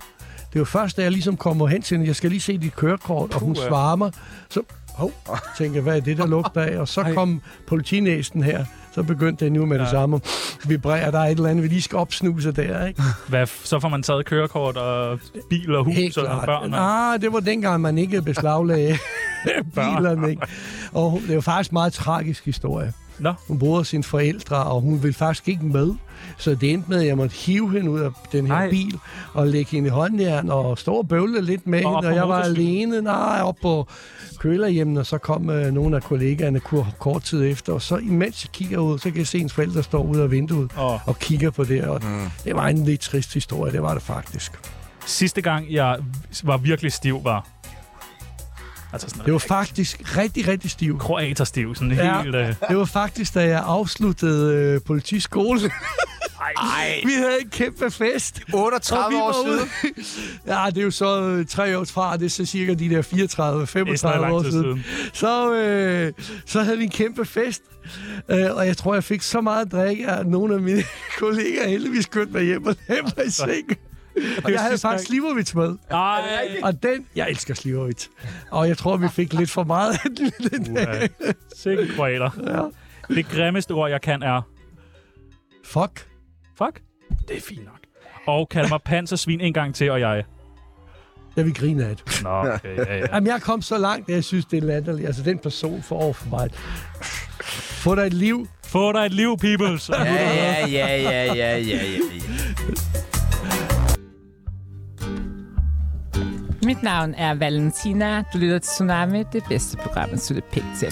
[SPEAKER 3] Det var først, da jeg ligesom kommer hen til hende, jeg skal lige se dit kørekort, og hun svarer mig. Så hov, tænker, jeg, hvad er det, der lugter af? Og så kom politinæsten her. Så begyndte den jo med det samme. Vibrerer, der er et eller andet, vi lige skal opsnuse der, ikke?
[SPEAKER 1] Hvad, f- så får man taget kørekort og bil og hus og børn. Og...
[SPEAKER 3] Ah, det var dengang, man ikke beslaglagde bilerne, ikke? Og hun- det var faktisk en meget tragisk historie.
[SPEAKER 1] Nå,
[SPEAKER 3] Hun boede hos sine forældre, og hun ville faktisk ikke med. Så det endte med, at jeg måtte hive hende ud af den her
[SPEAKER 1] Nej.
[SPEAKER 3] Ej. bil og lægge hende i håndjern og stå og bøvle lidt med
[SPEAKER 1] Og op
[SPEAKER 3] hende. Og
[SPEAKER 1] på
[SPEAKER 3] jeg var
[SPEAKER 1] motorcykel.
[SPEAKER 3] alene, nej, op på kølerhjemmet, og så kom øh, nogle af kollegaerne kur- kort tid efter. Og så imens jeg kigger ud, så kan jeg se hendes forældre stå ude af vinduet
[SPEAKER 1] Åh.
[SPEAKER 3] og kigger på det. Og mm. Det var en lidt trist historie, det var det faktisk.
[SPEAKER 1] sidste gang, jeg var virkelig stiv, var... Altså sådan
[SPEAKER 3] Det var faktisk rigtig, rigtig stivt.
[SPEAKER 1] kroaterstiv, sådan
[SPEAKER 3] Ja.
[SPEAKER 1] helt... Øh,
[SPEAKER 3] Det var faktisk, da jeg afsluttede øh, politiskolen. Ej. *laughs* Vi havde en kæmpe fest.
[SPEAKER 2] 38 år siden.
[SPEAKER 3] ja, det er jo så øh, tre år fra, det er så cirka de der 34,
[SPEAKER 1] Det er snart
[SPEAKER 3] 35
[SPEAKER 1] lang
[SPEAKER 3] år
[SPEAKER 1] tid
[SPEAKER 3] siden.
[SPEAKER 1] siden.
[SPEAKER 3] siden. Så, øh, så havde vi en kæmpe fest, øh, og jeg tror, jeg fik så meget drik, at nogle af mine *laughs* kollegaer heldigvis kørte mig hjem og lagde
[SPEAKER 1] *laughs*
[SPEAKER 3] mig i seng. Og jeg havde
[SPEAKER 1] sidste gang.
[SPEAKER 3] faktisk Slivovits med.
[SPEAKER 1] ej,
[SPEAKER 3] Og den, jeg elsker Slivovits. Og jeg tror, vi fik lidt for meget af den, den *laughs* dag.
[SPEAKER 1] uha. Sikke kroater. Det grimmeste ord, jeg kan, er...
[SPEAKER 3] Fuck.
[SPEAKER 1] Fuck. Det er fint nok. Og kald mig pansersvin en gang til, og jeg...
[SPEAKER 3] Jeg vil grine af det.
[SPEAKER 1] Nå, okay, ja, ja.
[SPEAKER 3] Jamen, jeg kom så langt, at jeg synes, det er latterligt. Altså, den person får over for mig. Få dig et liv.
[SPEAKER 1] Få dig et liv, peoples!
[SPEAKER 2] Ja, ja, ja, ja, ja, ja, ja.
[SPEAKER 8] Mit navn er Valentina. Du lytter til Tsunami, det bedste program, at slutte pænt til.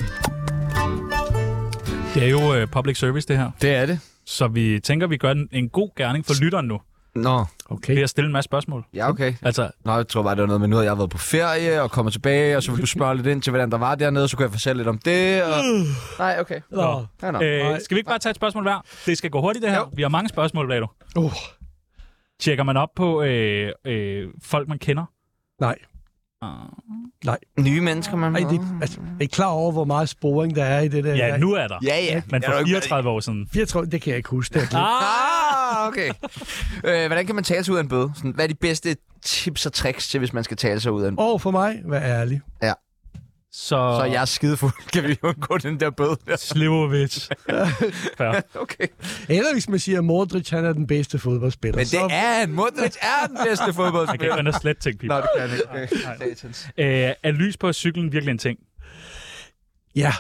[SPEAKER 1] Det er jo øh, public service, det her.
[SPEAKER 2] Det er det.
[SPEAKER 1] Så vi tænker, vi gør en, en god gerning for lytteren nu.
[SPEAKER 2] Nå,
[SPEAKER 1] Ved
[SPEAKER 3] Okay.
[SPEAKER 1] at stille en masse spørgsmål.
[SPEAKER 2] ja, okay.
[SPEAKER 1] Altså,
[SPEAKER 2] Nå, jeg tror bare, det var noget med, nu havde jeg været på ferie og kommer tilbage, og så ville du spørge lidt ind til, hvordan der var dernede, og så kunne jeg fortælle lidt om det. Og...
[SPEAKER 3] Øh.
[SPEAKER 2] Nej, okay.
[SPEAKER 3] Nå.
[SPEAKER 2] Ja, nå.
[SPEAKER 1] øh, skal vi ikke bare tage et spørgsmål hver? Det skal gå hurtigt, det her.
[SPEAKER 2] Jo.
[SPEAKER 1] Vi har mange spørgsmål, Vlado.
[SPEAKER 3] Uh,
[SPEAKER 1] Tjekker man op på øh, øh, folk, man kender?
[SPEAKER 3] nej.
[SPEAKER 2] Nye mennesker, man
[SPEAKER 3] Ej, det, altså, er I klar over, hvor meget sporing der er i det der?
[SPEAKER 1] Ja, nu er der.
[SPEAKER 2] Ja, ja.
[SPEAKER 1] Men
[SPEAKER 2] Er du
[SPEAKER 1] for
[SPEAKER 2] ikke-
[SPEAKER 1] 34 år siden.
[SPEAKER 3] Jeg tror, det kan jeg ikke huske. Det er klart.
[SPEAKER 2] Ah, okay. øh, hvordan kan man tale sig ud af en bøde? Sådan, hvad er de bedste tips og tricks til, hvis man skal tale sig ud af
[SPEAKER 1] Ah.
[SPEAKER 2] en bøde?
[SPEAKER 3] Og for mig, vær ærlig.
[SPEAKER 1] Så,
[SPEAKER 2] Så jeg er skidefuld. *laughs* Kan vi undgå den der bøde? der?
[SPEAKER 1] Slivovic. Fair.
[SPEAKER 2] okay.
[SPEAKER 3] Eller hvis man siger, at Modric han er den bedste fodboldspiller.
[SPEAKER 2] Men det
[SPEAKER 3] så,
[SPEAKER 2] er en. Modric er den bedste
[SPEAKER 1] Jeg kan ikke
[SPEAKER 2] fodboldspiller.
[SPEAKER 1] andre slet tænke,
[SPEAKER 2] Nå,
[SPEAKER 1] people.
[SPEAKER 2] det kan han ikke. Satans.
[SPEAKER 1] Øh, er lys på cyklen virkelig en ting?
[SPEAKER 3] Ja,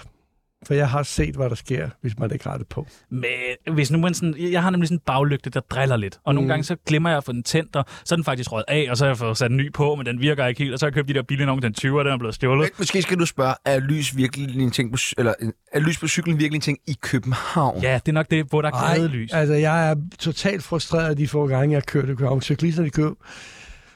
[SPEAKER 3] for jeg har set, hvad der sker, hvis man ikke har det på.
[SPEAKER 1] Men hvis nu man sådan, jeg har nemlig sådan en baglygte, der driller lidt. Og
[SPEAKER 2] Mm.
[SPEAKER 1] nogle gange så glemmer jeg at få den tændt, og så er den faktisk røget af, og så har jeg fået sat en ny på, men den virker ikke helt. Og så har jeg købt de der billige nogen, den 20'er, den er blevet stjålet.
[SPEAKER 2] Men Måske skal du spørge, er lys virkelig en ting på, cy- eller, er lys på cyklen virkelig en ting i København?
[SPEAKER 1] Ja, det er nok det, hvor der er gadelys.
[SPEAKER 3] altså jeg er totalt frustreret de få gange, jeg kørte i København. Cyklisterne kører.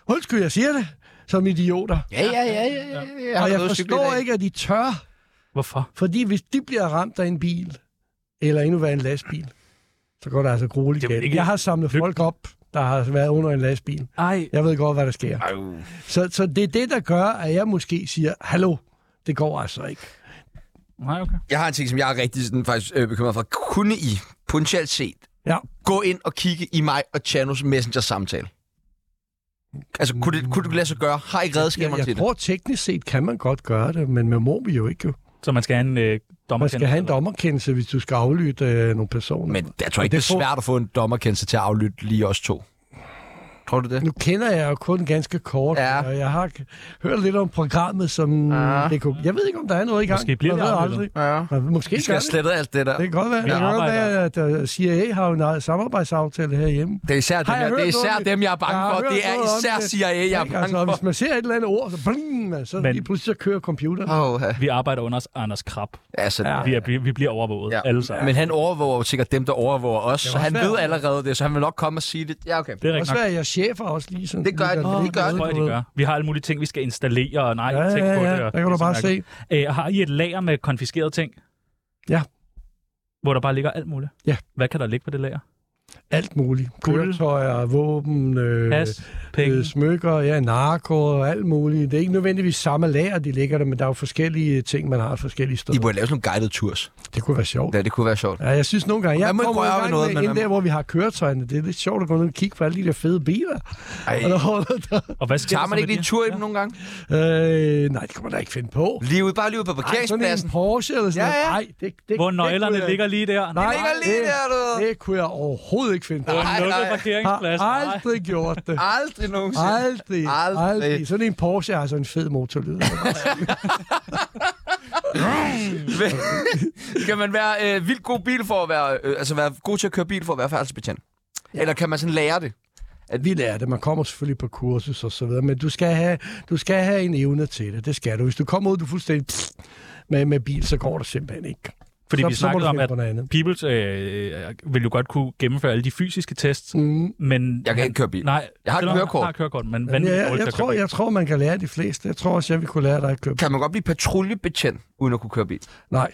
[SPEAKER 3] Undskyld, jeg siger det. Som idioter.
[SPEAKER 2] ja, ja, ja. ja, ja. Jeg
[SPEAKER 3] Og jeg
[SPEAKER 2] været ude at cykle i
[SPEAKER 3] forstår
[SPEAKER 2] dag.
[SPEAKER 3] ikke, at de tør.
[SPEAKER 1] Hvorfor?
[SPEAKER 3] Fordi hvis de bliver ramt af en bil, eller endnu værre en lastbil, så går der altså grueligt
[SPEAKER 1] Det er vel
[SPEAKER 3] galt.
[SPEAKER 1] ikke-
[SPEAKER 3] Jeg har samlet
[SPEAKER 1] Lykke-
[SPEAKER 3] folk op, der har været under en lastbil.
[SPEAKER 1] Ej,
[SPEAKER 3] Jeg ved godt, hvad der sker. Så, så det er det, der gør, at jeg måske siger, hallo, det går altså ikke.
[SPEAKER 1] nej, okay.
[SPEAKER 2] Jeg har en ting, som jeg er rigtig sådan, faktisk øh, bekymret for. Kunne I potentielt set
[SPEAKER 3] Ja.
[SPEAKER 2] gå ind og kigge i mig og Chanos messenger-samtale? Altså, kunne, det, kunne du lade sig gøre? Har I redskaberne
[SPEAKER 3] Jeg,
[SPEAKER 2] til det?
[SPEAKER 3] jeg tror teknisk set kan man godt gøre det, men man må vi jo ikke. jo.
[SPEAKER 1] Så man skal have en øh, dommer.
[SPEAKER 3] Man skal have en dommerkendelse, hvis du skal aflytte øh, nogle personer.
[SPEAKER 2] Men jeg tror ikke,
[SPEAKER 3] det
[SPEAKER 2] det er
[SPEAKER 3] får-
[SPEAKER 2] svært at få en dommerkendelse til at aflytte lige os to. Tror du det?
[SPEAKER 3] Nu kender jeg jo kun ganske kort,
[SPEAKER 2] Ja.
[SPEAKER 3] og jeg har k- hørt lidt om programmet, som
[SPEAKER 2] Ja.
[SPEAKER 3] det kunne... Jeg ved ikke, om der er noget i gang.
[SPEAKER 1] Måske bliver
[SPEAKER 3] Man
[SPEAKER 1] det
[SPEAKER 3] ved
[SPEAKER 1] aflyttet.
[SPEAKER 2] Ja.
[SPEAKER 3] aldrig. Man, måske
[SPEAKER 2] Vi skal
[SPEAKER 3] gør
[SPEAKER 2] have
[SPEAKER 3] det.
[SPEAKER 2] slettet alt det der.
[SPEAKER 3] Det
[SPEAKER 2] Det,
[SPEAKER 3] kan godt være.
[SPEAKER 1] Vi
[SPEAKER 3] Det kan godt
[SPEAKER 1] arbejder.
[SPEAKER 3] være, at øh, CIA har jo en samarbejdsaftale herhjemme.
[SPEAKER 2] er især, dem,
[SPEAKER 3] Har jeg
[SPEAKER 2] jeg, det er
[SPEAKER 3] hørt
[SPEAKER 2] især
[SPEAKER 3] noget-
[SPEAKER 2] dem, jeg er bange
[SPEAKER 3] Jeg har
[SPEAKER 2] for.
[SPEAKER 3] hørt
[SPEAKER 2] Det er
[SPEAKER 3] noget om
[SPEAKER 2] især
[SPEAKER 3] det.
[SPEAKER 2] CIA, jeg er
[SPEAKER 3] Ikke?
[SPEAKER 2] bange
[SPEAKER 3] Altså, hvis
[SPEAKER 2] for.
[SPEAKER 3] man ser et eller andet ord, så, bling, man, så
[SPEAKER 1] Men-
[SPEAKER 3] Men... lige pludselig så kører computeren.
[SPEAKER 2] Oh, ja.
[SPEAKER 1] Vi arbejder under Anders Krab.
[SPEAKER 2] Altså,
[SPEAKER 3] Ja.
[SPEAKER 1] Vi, er, vi bliver overvåget,
[SPEAKER 2] Ja.
[SPEAKER 1] ja. alle sammen.
[SPEAKER 2] Men han overvåger jo sikkert dem, der overvåger os, så
[SPEAKER 3] var
[SPEAKER 2] han
[SPEAKER 3] svært.
[SPEAKER 2] ved allerede det, så han vil nok komme og sige det. Ja, okay.
[SPEAKER 1] Det er rigtigt
[SPEAKER 3] Også
[SPEAKER 1] nok.
[SPEAKER 3] være jeres chefer også lige sådan.
[SPEAKER 2] Det gør de.
[SPEAKER 3] lige
[SPEAKER 2] Det gør
[SPEAKER 1] Det tror jeg, de gør. Vi har alle mulige ting, vi skal installere, og nej,
[SPEAKER 3] Ja,
[SPEAKER 1] tænk
[SPEAKER 3] ja,
[SPEAKER 1] på
[SPEAKER 3] ja.
[SPEAKER 1] det. og
[SPEAKER 3] Der kan
[SPEAKER 1] det
[SPEAKER 3] du
[SPEAKER 1] er så
[SPEAKER 3] bare se.
[SPEAKER 1] mærkeligt. Æ, har I et lager med konfiskerede ting?
[SPEAKER 3] Ja.
[SPEAKER 1] Hvor der bare ligger alt muligt?
[SPEAKER 3] Ja.
[SPEAKER 1] Hvad kan der ligge på det lager?
[SPEAKER 3] Alt muligt. Køretøjer, våben, øh,
[SPEAKER 1] Pas,
[SPEAKER 3] øh,
[SPEAKER 1] penge,
[SPEAKER 3] smykker, ja, narko og alt muligt. Det er ikke nødvendigvis samme lager, de ligger der, men der er jo forskellige ting, man har forskellige
[SPEAKER 2] I
[SPEAKER 3] steder.
[SPEAKER 2] burde lave sådan nogle guided tours.
[SPEAKER 3] Det kunne være sjovt.
[SPEAKER 2] Ja, det kunne være sjovt.
[SPEAKER 3] Ja, jeg synes nogle gange,
[SPEAKER 2] Man
[SPEAKER 3] jeg
[SPEAKER 2] må ikke
[SPEAKER 3] kommer
[SPEAKER 2] røre ved
[SPEAKER 3] nogle
[SPEAKER 2] noget,
[SPEAKER 3] gange
[SPEAKER 2] men
[SPEAKER 3] med
[SPEAKER 2] man-
[SPEAKER 3] ind der, hvor vi har køretøjerne. Det er lidt sjovt at gå ned og kigge på alle de der fede biler.
[SPEAKER 2] Ej.
[SPEAKER 3] Og der holder der.
[SPEAKER 1] og hvad sker
[SPEAKER 2] Tager
[SPEAKER 1] der så
[SPEAKER 2] man ikke
[SPEAKER 1] med
[SPEAKER 2] lige en tur i dem nogle gange?
[SPEAKER 3] Øh, nej, det kan man da ikke finde på.
[SPEAKER 2] Lige ude, bare lige ude på
[SPEAKER 3] Ej, sådan
[SPEAKER 2] parkeringspladsen.
[SPEAKER 3] en Porsche eller sådan
[SPEAKER 2] Ja, ja.
[SPEAKER 3] noget. Nej, det, det,
[SPEAKER 1] Hvor
[SPEAKER 3] det
[SPEAKER 1] nøglerne
[SPEAKER 3] kunne jeg-
[SPEAKER 1] ligger lige der.
[SPEAKER 3] Nej,
[SPEAKER 2] ligger lige der, du ved.
[SPEAKER 3] det, det kunne jeg overhovedet ikke finde på.
[SPEAKER 1] På en
[SPEAKER 2] Nej,
[SPEAKER 1] lukket
[SPEAKER 2] nej.
[SPEAKER 1] parkeringsplads.
[SPEAKER 3] har
[SPEAKER 1] Nej.
[SPEAKER 3] aldrig gjort det.
[SPEAKER 2] Aldrig nogensinde.
[SPEAKER 3] Aldrig,
[SPEAKER 2] Aldrig.
[SPEAKER 3] aldrig. aldrig. Sådan en Porsche har altså en fed
[SPEAKER 2] *laughs*
[SPEAKER 3] motorlyd.
[SPEAKER 2] *laughs* Skal man være øh, vildt god bil for at være, øh, altså være god til at køre bil for at være færdselsbetjent? Ja. Eller kan man sådan lære det?
[SPEAKER 3] at vi lærer det. Man kommer selvfølgelig på kursus og så videre, men du skal have, du skal *sniffs* have en evne til det. Det skal du. Hvis du kommer ud, du er fuldstændig pff, med, med bil, så går det simpelthen ikke.
[SPEAKER 1] Fordi
[SPEAKER 3] Så-
[SPEAKER 1] vi
[SPEAKER 3] så må du
[SPEAKER 1] snakkede om,
[SPEAKER 3] finde
[SPEAKER 1] at
[SPEAKER 3] på noget andet.
[SPEAKER 1] Peoples øh, vil jo godt kunne gennemføre alle de fysiske tests,
[SPEAKER 3] Mm.
[SPEAKER 1] men...
[SPEAKER 2] Jeg kan
[SPEAKER 1] han-
[SPEAKER 2] ikke køre bil.
[SPEAKER 1] Nej,
[SPEAKER 2] Jeg har et
[SPEAKER 1] selvom han
[SPEAKER 2] kørekort.
[SPEAKER 1] har kørekort, men
[SPEAKER 3] Men
[SPEAKER 1] vanvittigt
[SPEAKER 3] jeg, jeg,
[SPEAKER 1] dårligt
[SPEAKER 3] jeg,
[SPEAKER 1] at
[SPEAKER 3] tror,
[SPEAKER 1] køre bil.
[SPEAKER 3] jeg tror, man kan lære de fleste. Jeg tror også, jeg vil kunne lære dig at køre
[SPEAKER 2] Kan man godt blive patruljebetjent, uden at kunne køre bil?
[SPEAKER 3] Nej.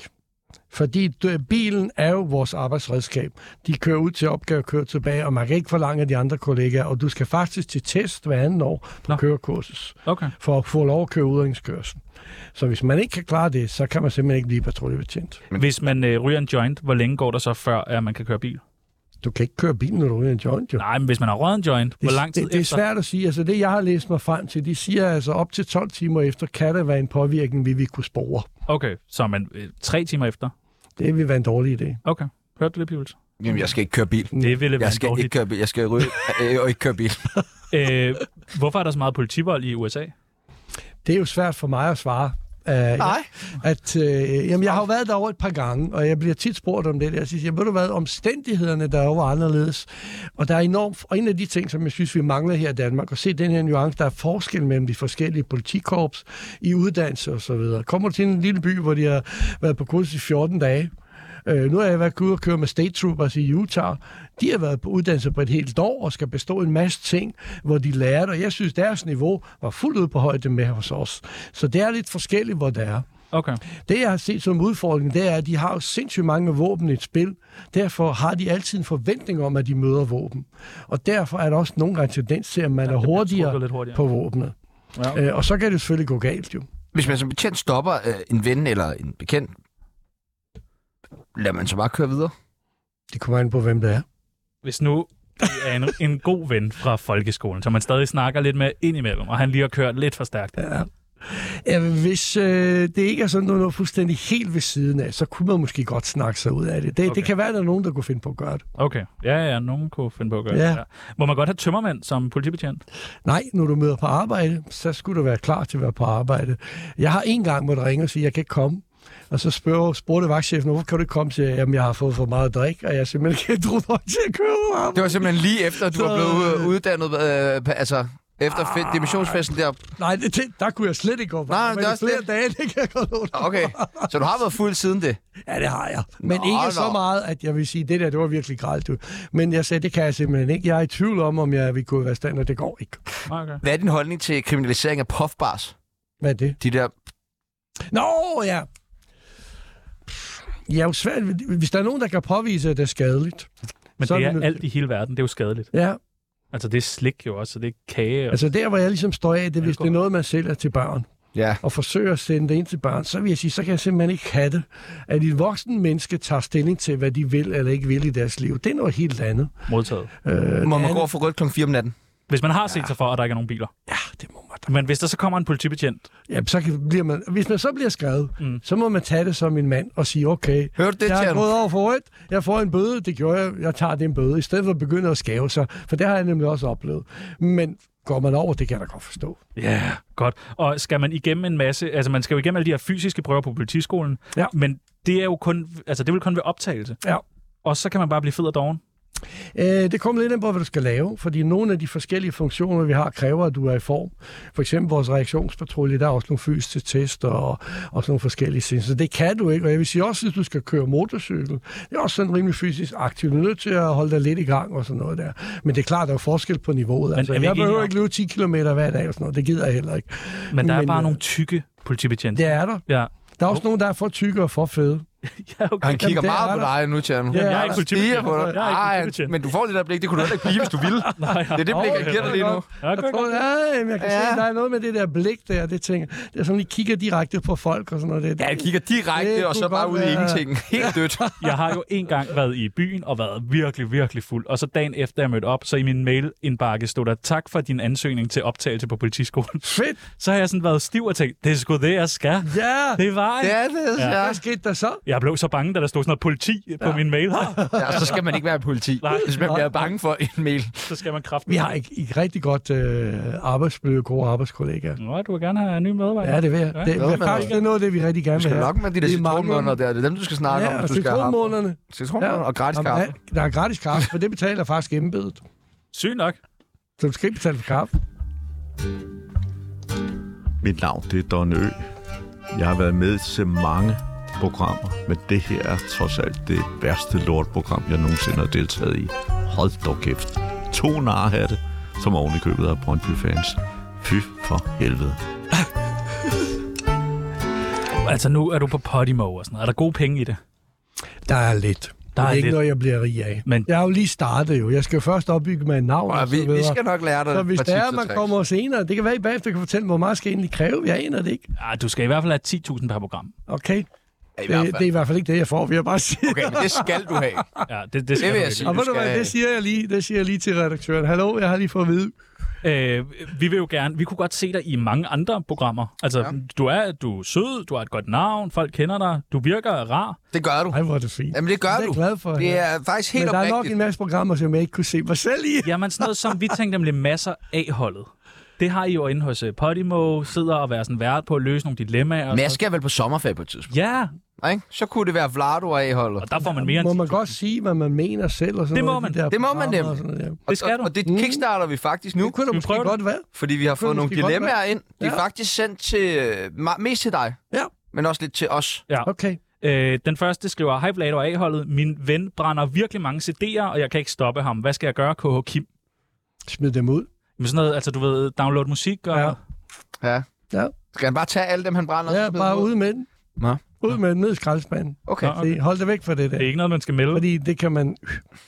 [SPEAKER 3] Fordi d- bilen er jo vores arbejdsredskab. De kører ud til opgave og kører tilbage, og man kan ikke forlange af de andre kollegaer, og du skal faktisk til test hver anden år på
[SPEAKER 1] Nå.
[SPEAKER 3] Nå. kørekursus,
[SPEAKER 1] Okay.
[SPEAKER 3] for at få lov at køre udringskørsel. Så hvis man ikke kan klare det, så kan man simpelthen ikke blive patruljebetjent.
[SPEAKER 1] Hvis man øh, ryger en joint, hvor længe går der så før, at man kan køre bil?
[SPEAKER 3] Du kan ikke køre bilen, når du er ude i en joint, jo.
[SPEAKER 1] Nej, men hvis man har røget en joint, hvor
[SPEAKER 3] Det-
[SPEAKER 1] lang tid
[SPEAKER 3] det, det er
[SPEAKER 1] efter?
[SPEAKER 3] svært at sige. Altså det, jeg har læst mig frem til, de siger altså op til 12 timer efter, kan der være en påvirkning, vi vil kunne spore.
[SPEAKER 1] Okay, så er man øh, tre timer efter.
[SPEAKER 3] Det vil være en dårlig idé.
[SPEAKER 1] Okay, hørte du det, Peoples?
[SPEAKER 2] Jamen, jeg skal ikke køre bil.
[SPEAKER 1] Det ville være
[SPEAKER 2] Jeg
[SPEAKER 1] en
[SPEAKER 2] skal
[SPEAKER 1] dårlig
[SPEAKER 2] ikke køre bil. Jeg skal ryge øh, og ikke køre bil.
[SPEAKER 1] Øh, hvorfor er der så meget politivold i USA?
[SPEAKER 3] Det er jo svært for mig at svare. Uh, Nej. At, øh, jamen, jeg har jo været derovre et par gange, og jeg bliver tit spurgt om det. der. Jeg siger, jamen, ved du hvad, omstændighederne derovre var anderledes. Og der er enormt, og en af de ting, som jeg synes, vi mangler her i Danmark, at se den her nuance, der er forskel mellem de forskellige politikorps i uddannelse og så videre. Kommer du til en lille by, hvor de har været på kursus i 14 dage, Øh, nu har jeg været ude og køre med state troopers i Utah. De har været på uddannelse på et helt år og skal bestå en masse ting, hvor de lærer det. Og jeg synes, deres niveau var fuldt ud på højde med hos os. Så det er lidt forskelligt, hvor det er.
[SPEAKER 1] Okay.
[SPEAKER 3] Det, jeg har set som udfordring, det er, at de har jo sindssygt mange våben i et spil. Derfor har de altid en forventning om, at de møder våben. Og derfor er der også nogle gange tendens til, at man er
[SPEAKER 1] det bliver trukket
[SPEAKER 3] hurtigere,
[SPEAKER 1] lidt hurtigere.
[SPEAKER 3] på våbnet.
[SPEAKER 1] Ja.
[SPEAKER 3] Øh, og så kan det selvfølgelig gå galt jo.
[SPEAKER 2] Hvis man som betjent stopper øh, en ven eller en bekendt, lader man så bare køre videre.
[SPEAKER 3] Det kommer an på, hvem det er.
[SPEAKER 1] Hvis nu det er en, en god ven fra folkeskolen, som man stadig snakker lidt med indimellem, og han lige har kørt lidt for stærkt. Ja.
[SPEAKER 3] Ja, hvis øh, det ikke er sådan noget, noget fuldstændig helt ved siden af, så kunne man måske godt snakke sig ud af det. Det, okay.
[SPEAKER 1] Okay.
[SPEAKER 3] det kan være, at der er nogen, der kunne finde på at gøre det.
[SPEAKER 1] Okay. Ja, ja, nogen kunne finde på at gøre
[SPEAKER 3] Ja.
[SPEAKER 1] det. Ja. Må man godt have tømmermænd som politibetjent?
[SPEAKER 3] Nej, når du møder på arbejde, så skulle du være klar til at være på arbejde. Jeg har en gang måtte ringe og sige, at jeg kan ikke komme. Og så spørger, spurgte vagtchefen, hvorfor kan du ikke komme til, jamen jeg har fået for meget drik, og jeg er simpelthen ikke drog nok til at køre på arbejde.
[SPEAKER 2] Det var simpelthen lige efter, at du var blevet øh, uddannet, øh, pa- altså efter fe- dimissionsfesten der.
[SPEAKER 3] Nej, det, det, der kunne jeg slet ikke gå på.
[SPEAKER 2] Nej,
[SPEAKER 3] arbejde,
[SPEAKER 2] det er
[SPEAKER 3] men i
[SPEAKER 2] også
[SPEAKER 3] flere
[SPEAKER 2] det.
[SPEAKER 3] dage, det kan jeg godt love dig.
[SPEAKER 2] Okay, så du har været fuld siden det.
[SPEAKER 3] Ja, det har jeg. Men
[SPEAKER 2] Nå,
[SPEAKER 3] nå, ikke nå.
[SPEAKER 2] nå.
[SPEAKER 3] så meget, at jeg vil sige, det der, det var virkelig grælt. du. Men jeg sagde, det kan jeg simpelthen ikke. Jeg er i tvivl om, om jeg vil kunne være i stand, og det går ikke.
[SPEAKER 1] Okay.
[SPEAKER 2] Hvad er din holdning til kriminalisering af puffbars?
[SPEAKER 3] Hvad er det?
[SPEAKER 2] De der...
[SPEAKER 3] Nå, ja. Jeg er jo svært. ved- Hvis der er nogen, der kan påvise, at det er skadeligt.
[SPEAKER 1] Men
[SPEAKER 3] Så er
[SPEAKER 1] det
[SPEAKER 3] vi
[SPEAKER 1] er
[SPEAKER 3] nødt til-
[SPEAKER 1] alt i hele verden. Det er jo skadeligt.
[SPEAKER 3] Ja,
[SPEAKER 1] Altså, det er slik jo også, og det er kage. Og...
[SPEAKER 3] altså der, hvor jeg ligesom står af, det er, hvis det
[SPEAKER 1] Alkohol.
[SPEAKER 3] er noget, man sælger til børn,
[SPEAKER 2] Ja.
[SPEAKER 3] og forsøger at sende det ind til børn, så vil jeg sige, så kan jeg simpelthen ikke have det, at et voksen menneske tager stilling til, hvad de vil eller ikke vil i deres liv. Det er noget helt andet.
[SPEAKER 1] modtaget.
[SPEAKER 3] Øh,
[SPEAKER 2] Må man
[SPEAKER 3] det
[SPEAKER 2] gå
[SPEAKER 3] andet-
[SPEAKER 2] over for rødt kl. 4 om natten?
[SPEAKER 1] Hvis man har set sig for, at der ikke er nogen biler.
[SPEAKER 3] Ja, det må man da.
[SPEAKER 1] Men hvis der så kommer en politibetjent,
[SPEAKER 3] Ja, så kan, bliver man, hvis man så bliver skrevet, mm. så må man tage det som en mand og sige, okay,
[SPEAKER 2] Hørte du det,
[SPEAKER 3] jeg har
[SPEAKER 2] Tjerno?
[SPEAKER 3] gået over for rødt, jeg får en bøde, det gjorde jeg, jeg tager den bøde, i stedet for at begynde at skave sig, for det har jeg nemlig også oplevet. Men går man over, det kan jeg da godt forstå.
[SPEAKER 1] ja, yeah. godt. Og skal man igennem en masse, altså man skal jo igennem alle de her fysiske prøver på politiskolen,
[SPEAKER 3] Ja.
[SPEAKER 1] men det er jo kun, altså det vil kun være optagelse.
[SPEAKER 3] Ja.
[SPEAKER 1] Og så kan man bare blive fed og doven.
[SPEAKER 3] Øh, det kommer lidt an på, hvad du skal lave, fordi nogle af de forskellige funktioner, vi har, kræver, at du er i form. For eksempel vores reaktionspatrulje, der er også nogle fysiske tester og, og sådan nogle forskellige ting. Så det kan du ikke, og jeg vil sige også, hvis du skal køre motorcykel, det er også sådan rimelig fysisk aktivt. Du er nødt til at holde dig lidt i gang og sådan noget der. Men det er klart, der er jo forskel på niveauet. Men, altså,
[SPEAKER 1] er vi ikke
[SPEAKER 3] jeg
[SPEAKER 1] enige
[SPEAKER 3] behøver
[SPEAKER 1] om-
[SPEAKER 3] ikke løbe 10 km hver dag og sådan noget. Det gider jeg heller ikke.
[SPEAKER 1] Men der men, er
[SPEAKER 3] Men,
[SPEAKER 1] bare
[SPEAKER 3] øh,
[SPEAKER 1] nogle tykke politibetjente.
[SPEAKER 3] Det er der.
[SPEAKER 1] Ja.
[SPEAKER 3] Der er også nogen, der er for tykke og for fede.
[SPEAKER 1] ja, okay.
[SPEAKER 2] Han kigger
[SPEAKER 3] Jamen, det
[SPEAKER 2] meget
[SPEAKER 3] er
[SPEAKER 2] på
[SPEAKER 3] der.
[SPEAKER 2] dig nu, Tjerno.
[SPEAKER 3] Ja, jeg er
[SPEAKER 1] ikke
[SPEAKER 2] Han stiger
[SPEAKER 1] politibetjent.
[SPEAKER 2] på dig.
[SPEAKER 1] Jeg er ikke
[SPEAKER 2] Ej,
[SPEAKER 1] politibetjent.
[SPEAKER 2] men du får det der blik. Det kunne du heller ikke blive, hvis du ville. Det er det blik, jeg giver dig lige nu.
[SPEAKER 1] Ja,
[SPEAKER 3] Jeg
[SPEAKER 1] okay.
[SPEAKER 3] tror, ja, jamen, jeg kan
[SPEAKER 2] Ja.
[SPEAKER 3] ja. se, der er noget med det der blik der, det tænker Det er sådan, de kigger direkte på folk og sådan noget. Det,
[SPEAKER 2] Ja, jeg kigger direkte,
[SPEAKER 3] Det
[SPEAKER 2] og så
[SPEAKER 3] kunne
[SPEAKER 2] bare ud
[SPEAKER 3] godt
[SPEAKER 2] i
[SPEAKER 3] være-
[SPEAKER 2] ingenting. Helt dødt.
[SPEAKER 1] Jeg har jo en gang været i byen og været virkelig, virkelig fuld. Og så dagen efter jeg mødte op, så i min mailindbakke stod der, tak for din ansøgning til optagelse på politiskolen. *laughs*
[SPEAKER 3] Fedt!
[SPEAKER 1] Så har jeg sådan været stiv og tænkt, det er sgu det, jeg skal.
[SPEAKER 3] Ja!
[SPEAKER 1] Det var jeg.
[SPEAKER 2] *laughs* Ja, det er
[SPEAKER 1] Ja.
[SPEAKER 2] ja.
[SPEAKER 3] Hvad skete der så?
[SPEAKER 1] Jeg blev så bange, da der stod sådan noget politi på min mail.
[SPEAKER 2] ja. så skal man ikke være politi,
[SPEAKER 1] Nej.
[SPEAKER 2] hvis man bliver bange for en mail.
[SPEAKER 1] så skal man kraftigt.
[SPEAKER 3] Vi har ikke, ikke rigtig godt øh, arbejdsmiljø, gode arbejdskollegaer.
[SPEAKER 1] Nå, du vil gerne have en ny medarbejder.
[SPEAKER 3] Ja, det vil jeg.
[SPEAKER 1] Ja.
[SPEAKER 3] Det, det,
[SPEAKER 2] Hvad
[SPEAKER 3] det,
[SPEAKER 2] med
[SPEAKER 3] faktisk, det er noget af det, vi rigtig gerne
[SPEAKER 2] Du
[SPEAKER 3] vil
[SPEAKER 2] skal
[SPEAKER 3] have.
[SPEAKER 2] nok med de der
[SPEAKER 3] Det er mange
[SPEAKER 2] citronmåneder der. Det er dem, du skal snakke om,
[SPEAKER 3] Ja,
[SPEAKER 2] hvis
[SPEAKER 3] og
[SPEAKER 2] du skal have ham.
[SPEAKER 3] citronmånederne.
[SPEAKER 2] Citronmåneder og gratis
[SPEAKER 3] Jamen,
[SPEAKER 2] kaffe.
[SPEAKER 3] ja, Der er gratis kaffe, for det betaler faktisk embedet.
[SPEAKER 1] Sygt nok.
[SPEAKER 3] Så du skal ikke betale for kaffe.
[SPEAKER 9] Mit navn det er Don Ø. Jeg har været med til mange lortprogrammer, men det her er trods alt det værste lortprogram, jeg nogensinde har deltaget i. Hold dog kæft. To narhatte, som oven i købet af Brøndby-fans. Fy for helvede.
[SPEAKER 1] Altså, nu er du på Podimo og sådan noget. Er der gode penge i det?
[SPEAKER 3] Der er lidt.
[SPEAKER 1] Der er
[SPEAKER 3] det er ikke
[SPEAKER 1] lidt.
[SPEAKER 3] noget, jeg bliver rig af.
[SPEAKER 1] Men-
[SPEAKER 3] Men... Jeg har jo lige startet jo. Jeg skal jo først opbygge mig et navn.
[SPEAKER 2] Og
[SPEAKER 3] og
[SPEAKER 2] vi,
[SPEAKER 3] så videre.
[SPEAKER 2] vi skal nok lære dig
[SPEAKER 3] Så hvis
[SPEAKER 2] et par
[SPEAKER 3] der er,
[SPEAKER 2] tips og
[SPEAKER 3] man
[SPEAKER 2] tricks.
[SPEAKER 3] kommer senere, det kan være, I bagefter kan fortælle, hvor meget skal jeg egentlig kræve. Jeg aner det ikke.
[SPEAKER 1] Ah, du skal i hvert fald have 10.000 per program.
[SPEAKER 3] Okay?
[SPEAKER 2] I hvert
[SPEAKER 3] Det,
[SPEAKER 2] fald.
[SPEAKER 3] det, er i hvert fald ikke det, jeg får, vil jeg bare *laughs* sige.
[SPEAKER 2] Okay, men det skal du have.
[SPEAKER 1] Ja, det, det, skal
[SPEAKER 2] Det vil
[SPEAKER 1] du
[SPEAKER 2] jeg
[SPEAKER 1] ikke.
[SPEAKER 2] sige.
[SPEAKER 3] Og
[SPEAKER 2] du
[SPEAKER 3] ved du hvad,
[SPEAKER 2] skal-
[SPEAKER 3] det siger jeg lige, det siger jeg lige til redaktøren. Hallo, jeg har lige fået at vide.
[SPEAKER 1] Øh, vi vil jo gerne, vi kunne godt se dig i mange andre programmer. Altså, ja. du, er, du er sød, du har et godt navn, folk kender dig, du virker rar.
[SPEAKER 2] Det gør du.
[SPEAKER 3] Ej, hvor er det fint.
[SPEAKER 2] Jamen, det gør
[SPEAKER 3] det er
[SPEAKER 2] du.
[SPEAKER 3] jeg glad for.
[SPEAKER 2] Det
[SPEAKER 3] ja.
[SPEAKER 2] er faktisk helt
[SPEAKER 3] Men der er nok
[SPEAKER 2] oprigtigt.
[SPEAKER 3] en masse programmer, som jeg ikke kunne se mig selv i.
[SPEAKER 1] Jamen, sådan noget som, vi tænkte nemlig masser af holdet. Det har I jo inde hos øh, Podimo, sidder og være sådan vært på at løse nogle dilemmaer. og
[SPEAKER 2] Men jeg
[SPEAKER 1] sådan
[SPEAKER 2] skal vel på sommerferie på et tidspunkt.
[SPEAKER 1] noget. Ja,
[SPEAKER 2] Ikke? Så kunne det være Vlado og A-holdet.
[SPEAKER 1] og der får man mere
[SPEAKER 3] Må
[SPEAKER 1] end
[SPEAKER 3] man godt sige, hvad man mener selv? Og sådan
[SPEAKER 1] Det må
[SPEAKER 3] noget, i de
[SPEAKER 1] man.
[SPEAKER 3] der
[SPEAKER 2] Det må man
[SPEAKER 3] programmer og
[SPEAKER 2] nemlig.
[SPEAKER 3] sådan noget der.
[SPEAKER 1] Det skal
[SPEAKER 2] og,
[SPEAKER 1] du.
[SPEAKER 2] Og det kickstarter vi faktisk nu,
[SPEAKER 3] Det Mm. kunne da
[SPEAKER 1] vi
[SPEAKER 3] måske
[SPEAKER 1] prøve det?
[SPEAKER 3] godt være.
[SPEAKER 2] fordi vi har fået
[SPEAKER 3] kunne
[SPEAKER 2] nogle
[SPEAKER 3] måske godt
[SPEAKER 2] dilemmaer ind. De er
[SPEAKER 3] Ja.
[SPEAKER 2] faktisk sendt til øh, ma- mest til dig,
[SPEAKER 3] Ja.
[SPEAKER 2] men også lidt til os.
[SPEAKER 3] Okay.
[SPEAKER 1] Øh, den første skriver, Hej Vlad og A-holdet, min ven brænder virkelig mange CD'er, og jeg kan ikke stoppe ham. Hvad skal jeg gøre, KH Kim?
[SPEAKER 3] Smid dem ud.
[SPEAKER 1] Jamen sådan noget, altså du ved, download musik og...
[SPEAKER 3] Ja.
[SPEAKER 2] Ja.
[SPEAKER 3] Ja.
[SPEAKER 2] Skal han bare tage alle dem, han brænder? og
[SPEAKER 3] Ja,
[SPEAKER 2] så smide
[SPEAKER 3] bare
[SPEAKER 2] dem
[SPEAKER 3] ud med den.
[SPEAKER 2] Nå.
[SPEAKER 3] Ud med den ned i skraldespanden.
[SPEAKER 2] Okay.
[SPEAKER 1] Nå.
[SPEAKER 3] Se, Hold det væk fra det der.
[SPEAKER 1] Det er ikke noget, man skal melde.
[SPEAKER 3] Fordi det kan man...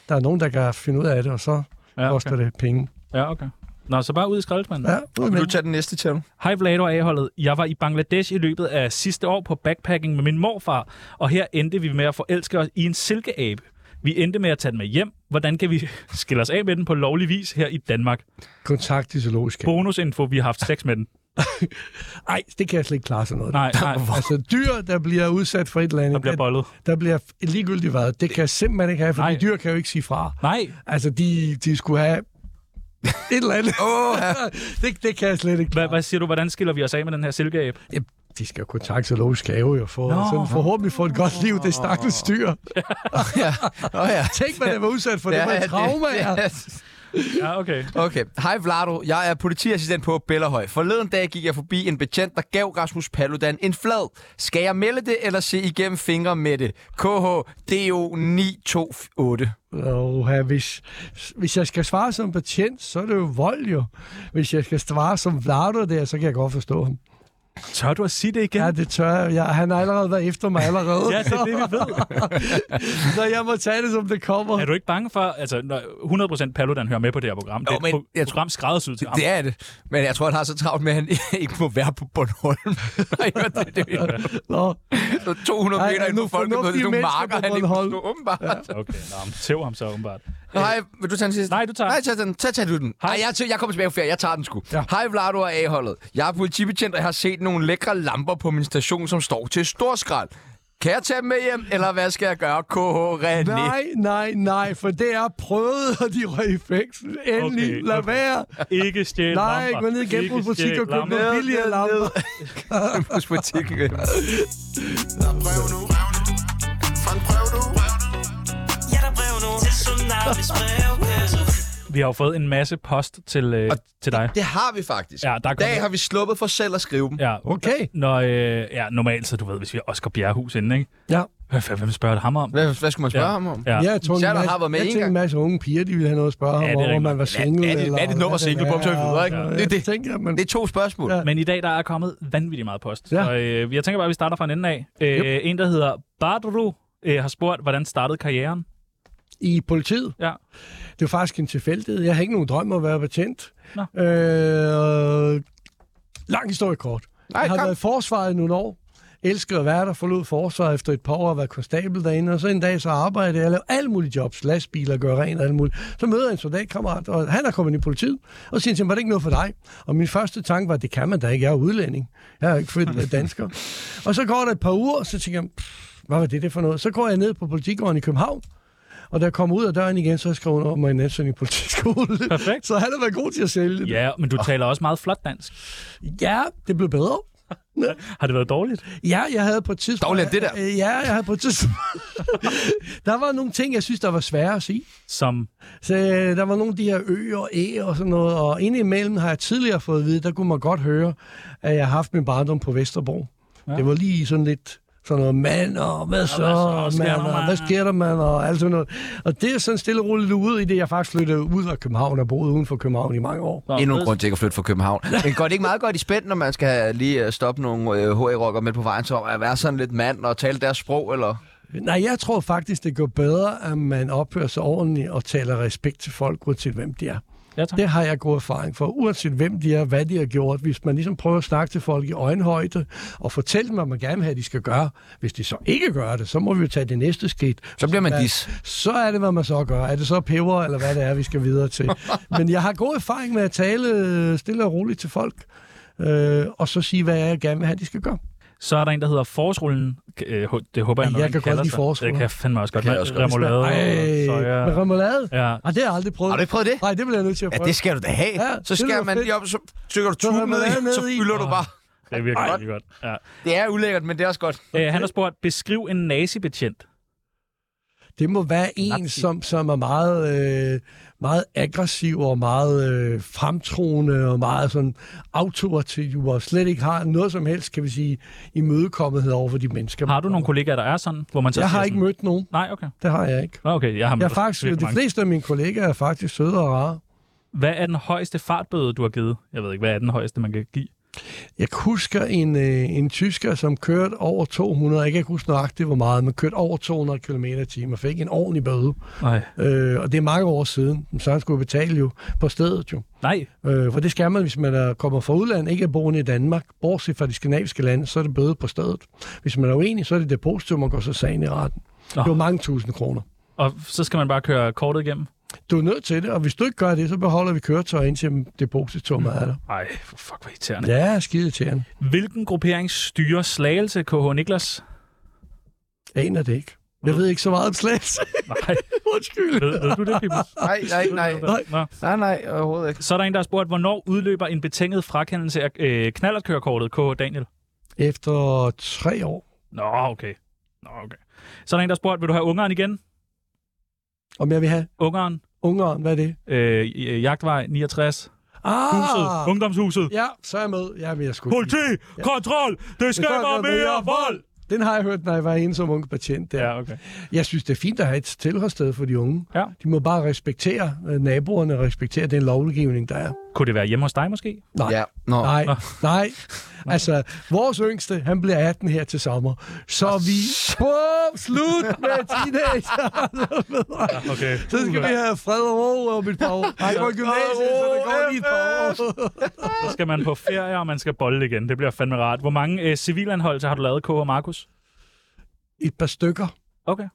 [SPEAKER 3] Der er nogen, der kan finde ud af det, og så
[SPEAKER 1] ja,
[SPEAKER 3] koster
[SPEAKER 1] okay.
[SPEAKER 3] det penge.
[SPEAKER 1] ja, okay. Nå, så bare ud i skraldespanden.
[SPEAKER 3] Ja, ud
[SPEAKER 2] Vil
[SPEAKER 3] med
[SPEAKER 2] du tage den næste
[SPEAKER 3] *laughs*
[SPEAKER 2] til
[SPEAKER 1] Hej Vlad og A-holdet. Jeg var i Bangladesh i løbet af sidste år på backpacking med min morfar, og her endte vi med at forelske os i en silkeabe. Vi endte med at tage den med hjem. Hvordan kan vi *laughs* skille os af med den på lovlig vis her i Danmark?
[SPEAKER 3] kontakt til zoologisk. have.
[SPEAKER 1] Bonusinfo, vi har haft sex med den.
[SPEAKER 3] *laughs* Ej, det kan jeg slet ikke klare sådan noget.
[SPEAKER 1] Nej, nej,
[SPEAKER 3] Altså dyr, der bliver udsat for et eller andet,
[SPEAKER 1] der bliver
[SPEAKER 3] der,
[SPEAKER 1] bollet.
[SPEAKER 3] der bliver ligegyldigt hvad, det kan jeg simpelthen ikke have, for
[SPEAKER 1] Nej.
[SPEAKER 3] de dyr kan jo ikke sige fra.
[SPEAKER 1] Nej,
[SPEAKER 3] Altså, de, de skulle
[SPEAKER 1] *laughs*
[SPEAKER 3] have et eller andet. oh, *laughs* det, det kan jeg slet ikke
[SPEAKER 1] hvad,
[SPEAKER 3] klare.
[SPEAKER 1] hvad siger du, hvordan skiller vi os af med den her silkeabe?
[SPEAKER 3] Jamen, De skal jo kontakte zoologisk have jo, for
[SPEAKER 1] Nå.
[SPEAKER 3] sådan, forhåbentlig få et godt liv, det stakkels dyr.
[SPEAKER 2] ja. Oh, *laughs* ja.
[SPEAKER 3] Tænk, hvad det var udsat for, det var et
[SPEAKER 2] *laughs*
[SPEAKER 3] trauma. Ja.
[SPEAKER 1] Ja, okay.
[SPEAKER 2] Okay. Hej Vlado, jeg er politiassistent på Bellerhøj. Forleden dag gik jeg forbi en betjent, der gav Rasmus Paludan en flad. Skal jeg melde det, eller se igennem fingre med det? KH DO 928.
[SPEAKER 3] Oha, hvis, hvis jeg skal svare som patient, så er det jo vold jo. Hvis jeg skal svare som Vlado der, så kan jeg godt forstå ham.
[SPEAKER 1] Tør du at sige det igen?
[SPEAKER 3] Ja, det tør jeg. jeg. Han har allerede været efter mig allerede.
[SPEAKER 1] Ja, det er det, vi ved.
[SPEAKER 3] *laughs* Så jeg må tage det, som det kommer.
[SPEAKER 1] Er du ikke bange for, altså når 100% Paludan hører med på det her program? Det er
[SPEAKER 2] Jo, men
[SPEAKER 1] et pro-
[SPEAKER 2] jeg tror-
[SPEAKER 1] program skræddersyet til ham.
[SPEAKER 2] Det er det. Men jeg tror, han har så travlt med, at han *laughs* ikke må være på Bornholm. *laughs* Nej, det er det.
[SPEAKER 3] Nå,
[SPEAKER 2] Så 200
[SPEAKER 3] Ej,
[SPEAKER 2] meter
[SPEAKER 3] ej,
[SPEAKER 2] inden for
[SPEAKER 3] nu
[SPEAKER 2] folket,
[SPEAKER 3] fornuftige
[SPEAKER 2] det er nogle
[SPEAKER 3] mennesker
[SPEAKER 2] marker,
[SPEAKER 3] på
[SPEAKER 2] han ikke må
[SPEAKER 3] Bornholm.
[SPEAKER 2] stå, åbenbart. Ja.
[SPEAKER 1] Okay, nå, men tæv ham så åbenbart.
[SPEAKER 2] Hej, vil du tage den sidste?
[SPEAKER 1] Nej, du tager
[SPEAKER 2] Nej, tag den. Tag, tag du den.
[SPEAKER 1] Hej.
[SPEAKER 2] Hej. Ej, jeg, tæ- jeg kommer tilbage på ferie. Jeg tager den sgu. Ja. Hej, Vlado og A-holdet. Jeg er politibetjent, og jeg har set nogle lækre lamper på min station, som står til storskrald. Kan jeg tage dem med hjem, eller hvad skal jeg gøre? KH René.
[SPEAKER 3] nej, nej, nej, for det er prøvet, og de røg i fængsel. Endelig,
[SPEAKER 1] Okay,
[SPEAKER 3] okay, lad
[SPEAKER 1] okay.
[SPEAKER 3] være.
[SPEAKER 1] Ikke stjæl
[SPEAKER 3] Nej,
[SPEAKER 1] lamper.
[SPEAKER 3] gå ned i
[SPEAKER 1] Ikke
[SPEAKER 3] genbrugsbutik
[SPEAKER 1] stjæl
[SPEAKER 3] og køb
[SPEAKER 1] lamper.
[SPEAKER 3] nogle billigere lamper.
[SPEAKER 2] Hos butikken.
[SPEAKER 1] *laughs*
[SPEAKER 6] Brev nu. Fang brev nu. Ja, der er brev nu. Til Tsunamis brevkasse.
[SPEAKER 1] Vi har jo fået en masse post til, øh,
[SPEAKER 2] Og
[SPEAKER 1] til dig.
[SPEAKER 2] Det har vi faktisk.
[SPEAKER 1] Ja, der er
[SPEAKER 2] I dag har vi sluppet for selv at skrive dem. Ja.
[SPEAKER 1] Ja,
[SPEAKER 3] Okay.
[SPEAKER 1] når, øh, ja, normalt så, du ved, hvis vi har Oscar Bjerrehus inde, ikke?
[SPEAKER 3] Ja.
[SPEAKER 1] Hvad, hvad, hvem spørger det ham om?
[SPEAKER 2] Hvad, hvad skulle man spørge
[SPEAKER 1] Ja.
[SPEAKER 2] ja. ham om?
[SPEAKER 1] Ja.
[SPEAKER 3] Jeg, tror, en
[SPEAKER 2] Shatter
[SPEAKER 3] masse,
[SPEAKER 2] har været med en
[SPEAKER 3] jeg tænkte en
[SPEAKER 2] gang.
[SPEAKER 3] masse unge piger, de ville have noget at spørge
[SPEAKER 1] Ja,
[SPEAKER 3] ham
[SPEAKER 1] det er
[SPEAKER 3] om, om
[SPEAKER 1] rigtigt.
[SPEAKER 3] man var single.
[SPEAKER 2] Hvad er det-
[SPEAKER 3] eller
[SPEAKER 2] hvad er det nummer
[SPEAKER 3] hvad
[SPEAKER 2] single, bum, så vi videre, ikke?
[SPEAKER 3] er, og
[SPEAKER 2] Det er det.
[SPEAKER 3] Jeg tænker, man...
[SPEAKER 2] Det er to spørgsmål. Ja.
[SPEAKER 3] Ja.
[SPEAKER 1] Men i dag, der er kommet vanvittigt meget post.
[SPEAKER 3] Ja.
[SPEAKER 1] Så øh, jeg tænker bare, at vi starter fra en ende af. Øh, En, der hedder Badru, øh, har spurgt, hvordan startede karrieren?
[SPEAKER 3] I politiet?
[SPEAKER 1] Ja.
[SPEAKER 3] Det var faktisk en tilfældighed. Jeg havde ikke nogen drøm om at være betjent.
[SPEAKER 1] Nå.
[SPEAKER 3] Øh, lang historie kort.
[SPEAKER 2] Nej,
[SPEAKER 3] jeg har
[SPEAKER 2] kom.
[SPEAKER 3] været i forsvaret i nogle år. Elskede at være der, forlod forsvaret efter et par år at være konstabel derinde, og så en dag så arbejdede jeg, jeg lavede alle mulige jobs, lastbiler, gør rent og alt muligt. Så møder jeg en soldatkammerat, og han er kommet i politiet, og siger til ham, var det ikke noget for dig? Og min første tanke var, det kan man da ikke, jeg er udlænding. Jeg er ikke født dansker. og så går der et par uger, så tænker jeg, "Pff, hvad var det, det for noget? Så går jeg ned på politigården i København, og da jeg kom ud af døren igen, så har jeg skrevet under mig en ansøgning i politiskole.
[SPEAKER 1] Perfekt.
[SPEAKER 3] Så han har været god til at sælge det.
[SPEAKER 1] Ja, men du taler også meget flot dansk.
[SPEAKER 3] Ja, det blev bedre.
[SPEAKER 1] Har det været dårligt?
[SPEAKER 3] Ja, jeg havde på et tidspunkt...
[SPEAKER 2] Dårligt er det der.
[SPEAKER 3] Øh, Ja, jeg havde på et tidspunkt... *laughs* der var nogle ting, jeg synes, der var svære at sige.
[SPEAKER 1] Som,
[SPEAKER 3] Så øh, der var nogle af de her øer og æ og sådan noget, og indimellem har jeg tidligere fået at vide, der kunne man godt høre, at jeg har haft min barndom på Vesterbro. Ja. Det var lige sådan lidt sådan noget, mand, og hvad så,
[SPEAKER 1] hvad så? Sker
[SPEAKER 3] mand,
[SPEAKER 1] der,
[SPEAKER 3] og hvad
[SPEAKER 1] mand?"
[SPEAKER 3] sker der, mand, og alt sådan noget. Og det er sådan stille og roligt ud i det, jeg faktisk flyttede ud af København og boede uden for København i mange år.
[SPEAKER 1] Nå,
[SPEAKER 2] Endnu en
[SPEAKER 1] fed.
[SPEAKER 2] grund til ikke at flytte fra
[SPEAKER 1] *laughs*
[SPEAKER 2] København. Men går det ikke meget godt i spænd, når man skal have- lige øh, stoppe nogle øh, HA-rockere med på vejen, så at være sådan lidt mand og tale deres sprog, eller?
[SPEAKER 3] Nej, jeg tror faktisk, det går bedre, at man opfører sig ordentligt og taler respekt til folk, uanset hvem de er.
[SPEAKER 1] Ja, tak.
[SPEAKER 3] Det har jeg god erfaring for. Uanset hvem de er, hvad de har gjort, hvis man ligesom prøver at snakke til folk i øjenhøjde og fortælle dem, hvad man gerne vil have, de skal gøre. Hvis de så ikke gør det, så må vi jo tage det næste skridt.
[SPEAKER 2] Så bliver man
[SPEAKER 3] Ja,
[SPEAKER 2] dis.
[SPEAKER 3] Så er det, hvad man så gør. Er det så peber, eller hvad det er, vi skal videre til. Men jeg har god erfaring med at tale øh, stille og roligt til folk, øh, og så sige, hvad jeg gerne vil have, de skal gøre.
[SPEAKER 1] Så er der en, der hedder Forsrullen. Øh, ho- Det håber jeg,
[SPEAKER 3] Ja,
[SPEAKER 1] nok,
[SPEAKER 3] jeg
[SPEAKER 1] han
[SPEAKER 3] kan godt
[SPEAKER 1] kalder
[SPEAKER 3] lide
[SPEAKER 1] sig.
[SPEAKER 3] forårsruller.
[SPEAKER 1] Det kan jeg fandme også godt.
[SPEAKER 2] Det kan
[SPEAKER 1] Med
[SPEAKER 2] jeg også godt.
[SPEAKER 1] remoulade.
[SPEAKER 3] Ej,
[SPEAKER 1] og soja.
[SPEAKER 3] med remoulade?
[SPEAKER 1] Ja.
[SPEAKER 3] Ej, det har jeg aldrig prøvet.
[SPEAKER 2] Har du ikke prøvet det?
[SPEAKER 3] Nej, det bliver jeg nødt til at
[SPEAKER 7] Ja,
[SPEAKER 3] prøve.
[SPEAKER 7] det skal du da have. Ja.
[SPEAKER 3] Ja,
[SPEAKER 2] Så
[SPEAKER 3] det lyder
[SPEAKER 2] skærer man
[SPEAKER 3] fedt.
[SPEAKER 2] lige op, så tykker du
[SPEAKER 3] hælder
[SPEAKER 2] tuben
[SPEAKER 3] man
[SPEAKER 2] ned i,
[SPEAKER 3] ned
[SPEAKER 2] så
[SPEAKER 3] i.
[SPEAKER 2] fylder du bare.
[SPEAKER 1] Det er virkelig, virkelig godt. Ja.
[SPEAKER 2] Det er ulækkert, men det er også godt.
[SPEAKER 1] Øh, han har spurgt, beskriv en nazibetjent.
[SPEAKER 3] Det må være en, som, som er meget, øh, meget aggressiv og meget øh, fremtroende og meget sådan autoritativ og slet ikke har noget som helst, kan vi sige, imødekommethed over for de mennesker.
[SPEAKER 1] Har du nogle kollegaer, der er sådan? Hvor man så
[SPEAKER 3] Jeg
[SPEAKER 1] siger
[SPEAKER 3] har ikke
[SPEAKER 1] sådan,
[SPEAKER 3] mødt nogen.
[SPEAKER 1] Nej, okay.
[SPEAKER 3] Det har jeg ikke.
[SPEAKER 1] Nå, okay, jeg har
[SPEAKER 3] Jeg er
[SPEAKER 1] mødt
[SPEAKER 3] faktisk,
[SPEAKER 1] virkelig
[SPEAKER 3] de
[SPEAKER 1] mange.
[SPEAKER 3] fleste af mine kollegaer er faktisk søde og rare.
[SPEAKER 1] Hvad er den højeste fartbøde, du har givet? Jeg ved ikke, hvad er den højeste, man kan give?
[SPEAKER 3] Jeg husker en, øh, en tysker, som kørte over 200, jeg kan ikke huske nøjagtigt, hvor meget, men kørte over 200 km i timen og fik en ordentlig bøde.
[SPEAKER 1] Nej.
[SPEAKER 3] Øh, og det er mange år siden, så han skulle betale jo på stedet jo.
[SPEAKER 1] Nej,
[SPEAKER 3] Øh, for det skal man, hvis man er, kommer fra udlandet, ikke er boende i Danmark. Bortset fra de skandinaviske lande, så er det bøde på stedet. Hvis man er uenig, så er det depositum, og går så sagen i retten.
[SPEAKER 1] Nå.
[SPEAKER 3] Det var mange tusind kroner.
[SPEAKER 1] og så skal man bare køre kortet igennem?
[SPEAKER 3] Du er nødt til det, og hvis du ikke gør det, så beholder vi køretøjet indtil depositummet er der.
[SPEAKER 1] Nej, fuck, hvor irriterende.
[SPEAKER 3] Ja, skide til ham.
[SPEAKER 1] Hvilken gruppering styrer slagelse, KH Niklas?
[SPEAKER 3] Aner det ikke. Jeg ved ikke så meget om slags.
[SPEAKER 1] Nej,
[SPEAKER 3] *laughs* Undskyld.
[SPEAKER 1] ved, ved du det, Pibus?
[SPEAKER 2] Nej, nej, nej.
[SPEAKER 3] Nej.
[SPEAKER 1] Nå.
[SPEAKER 2] Nej, nej, overhovedet ikke.
[SPEAKER 1] Så er der en, der har spurgt, hvornår udløber en betinget frakendelse af øh, knallertkørekortet, KH Daniel?
[SPEAKER 3] Efter tre år,
[SPEAKER 1] Nå, okay. Nå, okay. Så er der en, der har spurgt, vil du have ungeren igen?
[SPEAKER 3] om jeg vil have
[SPEAKER 1] Ungeren,
[SPEAKER 3] Ungarn, hvad er det?
[SPEAKER 1] øh, i- øh, Jagtvej 69,
[SPEAKER 3] Ah,
[SPEAKER 1] huset, ungdomshuset.
[SPEAKER 3] Ja, så er jeg med. Ja, men jeg skulle
[SPEAKER 1] Politi, kontrol, det skaber mere vold!
[SPEAKER 3] Den har jeg hørt, når jeg var ensom ung patient der.
[SPEAKER 1] Ja, okay.
[SPEAKER 3] Jeg synes, det er fint at have et tilholdssted for de unge.
[SPEAKER 1] Ja.
[SPEAKER 3] De må bare respektere øh, naboerne og respektere den lovgivning, der er.
[SPEAKER 1] Kunne det være hjemme hos dig måske?
[SPEAKER 3] Nej.
[SPEAKER 2] Ja, nå.
[SPEAKER 3] Nej, nej. Altså, vores yngste, han bliver 18 her til sommer. Så vi... Bum, slut med teenager.
[SPEAKER 1] Okay.
[SPEAKER 3] Så skal vi have fred og ro om et par år. Nej, på gymnasiet, så det går lige et par år.
[SPEAKER 1] Så skal man på ferie, og man skal bolde igen. Det bliver fandme rart. Hvor mange øh, civilanholdelser har du lavet, KH og Markus?
[SPEAKER 3] Et par stykker
[SPEAKER 1] Okay.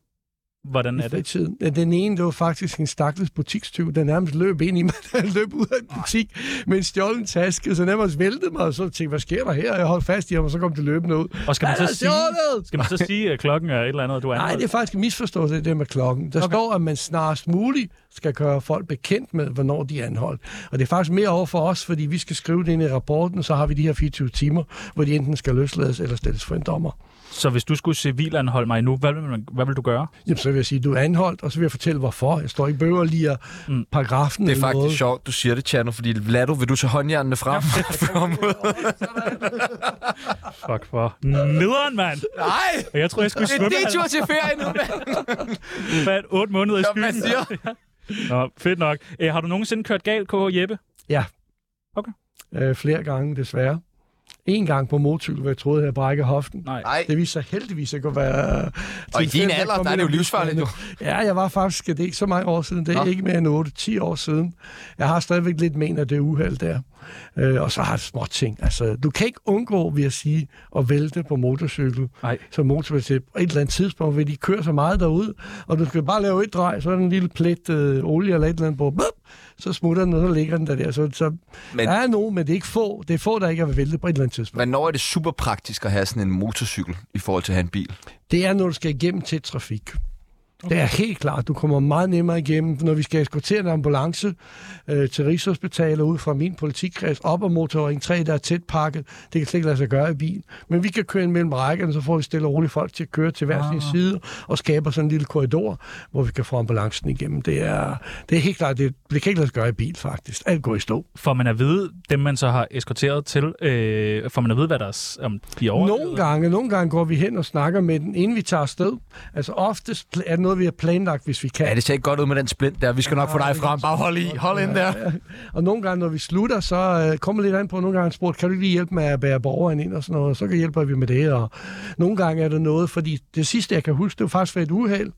[SPEAKER 1] Hvordan er
[SPEAKER 3] i
[SPEAKER 1] det?
[SPEAKER 3] fritiden. Den ene, det var faktisk en stakkels butikstyv, der nærmest løb ind i mig, *laughs* der løb ud af en butik med en stjålen taske, så nærmest væltede mig, og så tænkte jeg, hvad sker der her? Og Jeg holdt fast i ham, og så kom det løbende ud.
[SPEAKER 1] Og skal man
[SPEAKER 3] Han
[SPEAKER 1] så sige,
[SPEAKER 3] er stjålet!
[SPEAKER 1] skal man så sige at klokken er et eller andet, og du er
[SPEAKER 3] Nej, det er
[SPEAKER 1] anholdt?
[SPEAKER 3] faktisk en misforståelse, det der med klokken. Der okay. står, at man snarest muligt skal gøre folk bekendt med, hvornår de er anholdt. Og det er faktisk mere over for os, fordi vi skal skrive det ind i rapporten, så har vi de her 24 timer, hvor de enten skal løslades eller stilles for en dommer.
[SPEAKER 1] Så hvis du skulle civilanholde mig nu, hvad vil, man, hvad vil du gøre?
[SPEAKER 3] Jamen, så vil jeg sige, at du er anholdt, og så vil jeg fortælle, hvorfor. Jeg står ikke bøver lige mm. paragrafen.
[SPEAKER 2] Det er
[SPEAKER 3] eller
[SPEAKER 2] faktisk
[SPEAKER 3] noget.
[SPEAKER 2] sjovt, du siger det, Tjerno, fordi Lado, vil du tage håndjernene frem? *laughs*
[SPEAKER 1] Fuck for. Nederen, mand!
[SPEAKER 2] Nej!
[SPEAKER 1] Og Jeg tror, jeg skulle svømme
[SPEAKER 2] til ferie nu, mand.
[SPEAKER 1] fat otte måneder i
[SPEAKER 2] Som man
[SPEAKER 1] skyen. *laughs*
[SPEAKER 2] siger.
[SPEAKER 1] Nå, fedt nok. Æ, har du nogensinde kørt galt, KH Jeppe?
[SPEAKER 3] Ja.
[SPEAKER 1] Okay.
[SPEAKER 3] Øh, flere gange, desværre. En gang på motorcykel, hvor jeg troede, at jeg brækkede hoften.
[SPEAKER 1] Nej.
[SPEAKER 2] Nej.
[SPEAKER 3] Det viser sig heldigvis at kunne være...
[SPEAKER 2] Og i
[SPEAKER 3] tilfældigt,
[SPEAKER 2] din
[SPEAKER 3] at
[SPEAKER 2] alder,
[SPEAKER 3] komme
[SPEAKER 2] der er det jo
[SPEAKER 3] ind i
[SPEAKER 2] livsfarligt, jo.
[SPEAKER 3] Ja, jeg var faktisk, det er ikke så mange år siden, det er
[SPEAKER 2] Nå.
[SPEAKER 3] Nå. ikke mere end 8-10 år siden. Jeg har stadigvæk lidt men af det uheld der. Øh, og så har jeg små ting. Altså, du kan ikke undgå, vil jeg sige, at vælte på motorcykel
[SPEAKER 1] Nej.
[SPEAKER 3] som motorcykel. På et eller andet tidspunkt vil de køre så meget derud, og du skal bare lave et drej, så er der en lille plet øh, olie eller et eller andet på. Bup! Så smutter den, og så ligger den der. der. Så, så
[SPEAKER 2] Men-
[SPEAKER 3] men... der er nogen, men det er ikke få. Det er få, der ikke er væltet på et eller andet tidspunkt.
[SPEAKER 2] Hvornår er det super praktisk at have sådan en motorcykel i forhold til at have en bil?
[SPEAKER 3] Det er, når du skal igennem til trafik. Det er helt klart. Du kommer meget nemmere igennem, når vi skal eskortere en ambulance øh, til Rigshospitalet ud fra min politikreds, op ad motorring 3, der er tæt pakket. Det kan slet ikke lade sig gøre i bilen. Men vi kan køre ind mellem rækkerne, så får vi stille og roligt folk til at køre til hver sin side og skaber sådan en lille korridor, hvor vi kan få ambulancen igennem. Det er, det er helt klart, det, det kan ikke lade sig gøre i bil faktisk. Alt går i stå.
[SPEAKER 1] Får man at vide, dem man så har eskorteret til, øh, får man at vide, hvad der er, s- om de er over?
[SPEAKER 3] Nogle gange, nogle gange går vi hen og snakker med den, inden vi tager afsted. Altså oftest pl- er det noget, vi har planlagt, hvis vi kan.
[SPEAKER 2] Ja, det ser ikke godt ud med den splint der. Vi skal nok få dig frem. Bare hold i. Hold ind der.
[SPEAKER 3] Og nogle gange, når vi slutter, så øh, kommer lidt an på, nogle gange spurgt, kan du ikke lige hjælpe med at bære borgeren ind og sådan noget, og så kan hjælper vi med det. Og nogle gange er der noget, fordi det sidste, jeg kan huske, det var faktisk ved et uheld,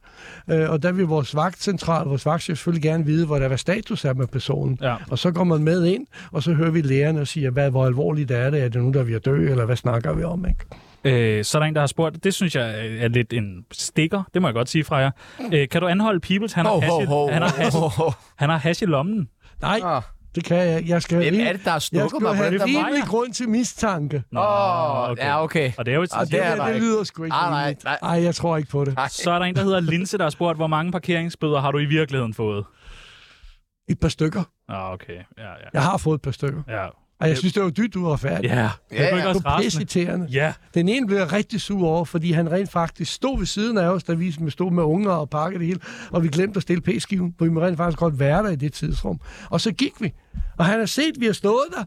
[SPEAKER 3] øh, og der vil vores vagtcentral, vores vagtchef selvfølgelig gerne vide, hvor der var status er med personen.
[SPEAKER 1] Ja.
[SPEAKER 3] Og så går man med ind, og så hører vi lægerne og siger, hvad, hvor alvorligt er det? Er det nu, der er ved at dø, eller hvad snakker vi om? Ikke?
[SPEAKER 1] Øh, så er der en, der har spurgt, det synes jeg er lidt en stikker, det må jeg godt sige fra jer. Øh, kan du anholde Peoples? Han har
[SPEAKER 2] Ho,
[SPEAKER 1] hash
[SPEAKER 2] ho,
[SPEAKER 1] i-
[SPEAKER 2] ho.
[SPEAKER 1] han har hash-
[SPEAKER 2] Ho, ho.
[SPEAKER 1] han har hash i lommen.
[SPEAKER 3] Nej,
[SPEAKER 2] Ah.
[SPEAKER 3] det kan jeg. ikke. Jeg skal
[SPEAKER 2] Hvem
[SPEAKER 3] rim-
[SPEAKER 2] er det, der har
[SPEAKER 3] jeg
[SPEAKER 2] stukket
[SPEAKER 3] skal
[SPEAKER 2] mig på
[SPEAKER 3] have
[SPEAKER 2] den der vej?
[SPEAKER 3] rimelig grund til mistanke.
[SPEAKER 1] Nå,
[SPEAKER 2] Åh, ja, okay.
[SPEAKER 1] Og det er jo et
[SPEAKER 2] Og det
[SPEAKER 3] Det,
[SPEAKER 2] er
[SPEAKER 3] her,
[SPEAKER 2] der
[SPEAKER 3] det
[SPEAKER 2] ikke.
[SPEAKER 3] lyder sgu ikke
[SPEAKER 2] Ah, nej,
[SPEAKER 3] rimeligt.
[SPEAKER 2] nej.
[SPEAKER 3] Ej, jeg tror ikke på det.
[SPEAKER 1] Så er der en, der hedder Linse, der har spurgt, hvor mange parkeringsbøder har du i virkeligheden fået?
[SPEAKER 3] Et par stykker.
[SPEAKER 1] Ah, okay. Ja, ja.
[SPEAKER 3] Jeg har fået et par stykker.
[SPEAKER 1] Ja.
[SPEAKER 3] Og
[SPEAKER 2] Øh,
[SPEAKER 3] jeg synes, det var dybt uretfærdigt.
[SPEAKER 1] Ja. Det er du ikke
[SPEAKER 3] Det
[SPEAKER 1] også
[SPEAKER 3] var
[SPEAKER 1] rasende.
[SPEAKER 3] pisseirriterende.
[SPEAKER 1] Ja.
[SPEAKER 3] Den ene blev jeg rigtig sur over, fordi han rent faktisk stod ved siden af os, da vi stod med unger og pakkede det hele, og vi glemte at stille p-skiven, for vi må rent faktisk godt være der i det tidsrum. Og så gik vi, og han har set, at vi har stået der,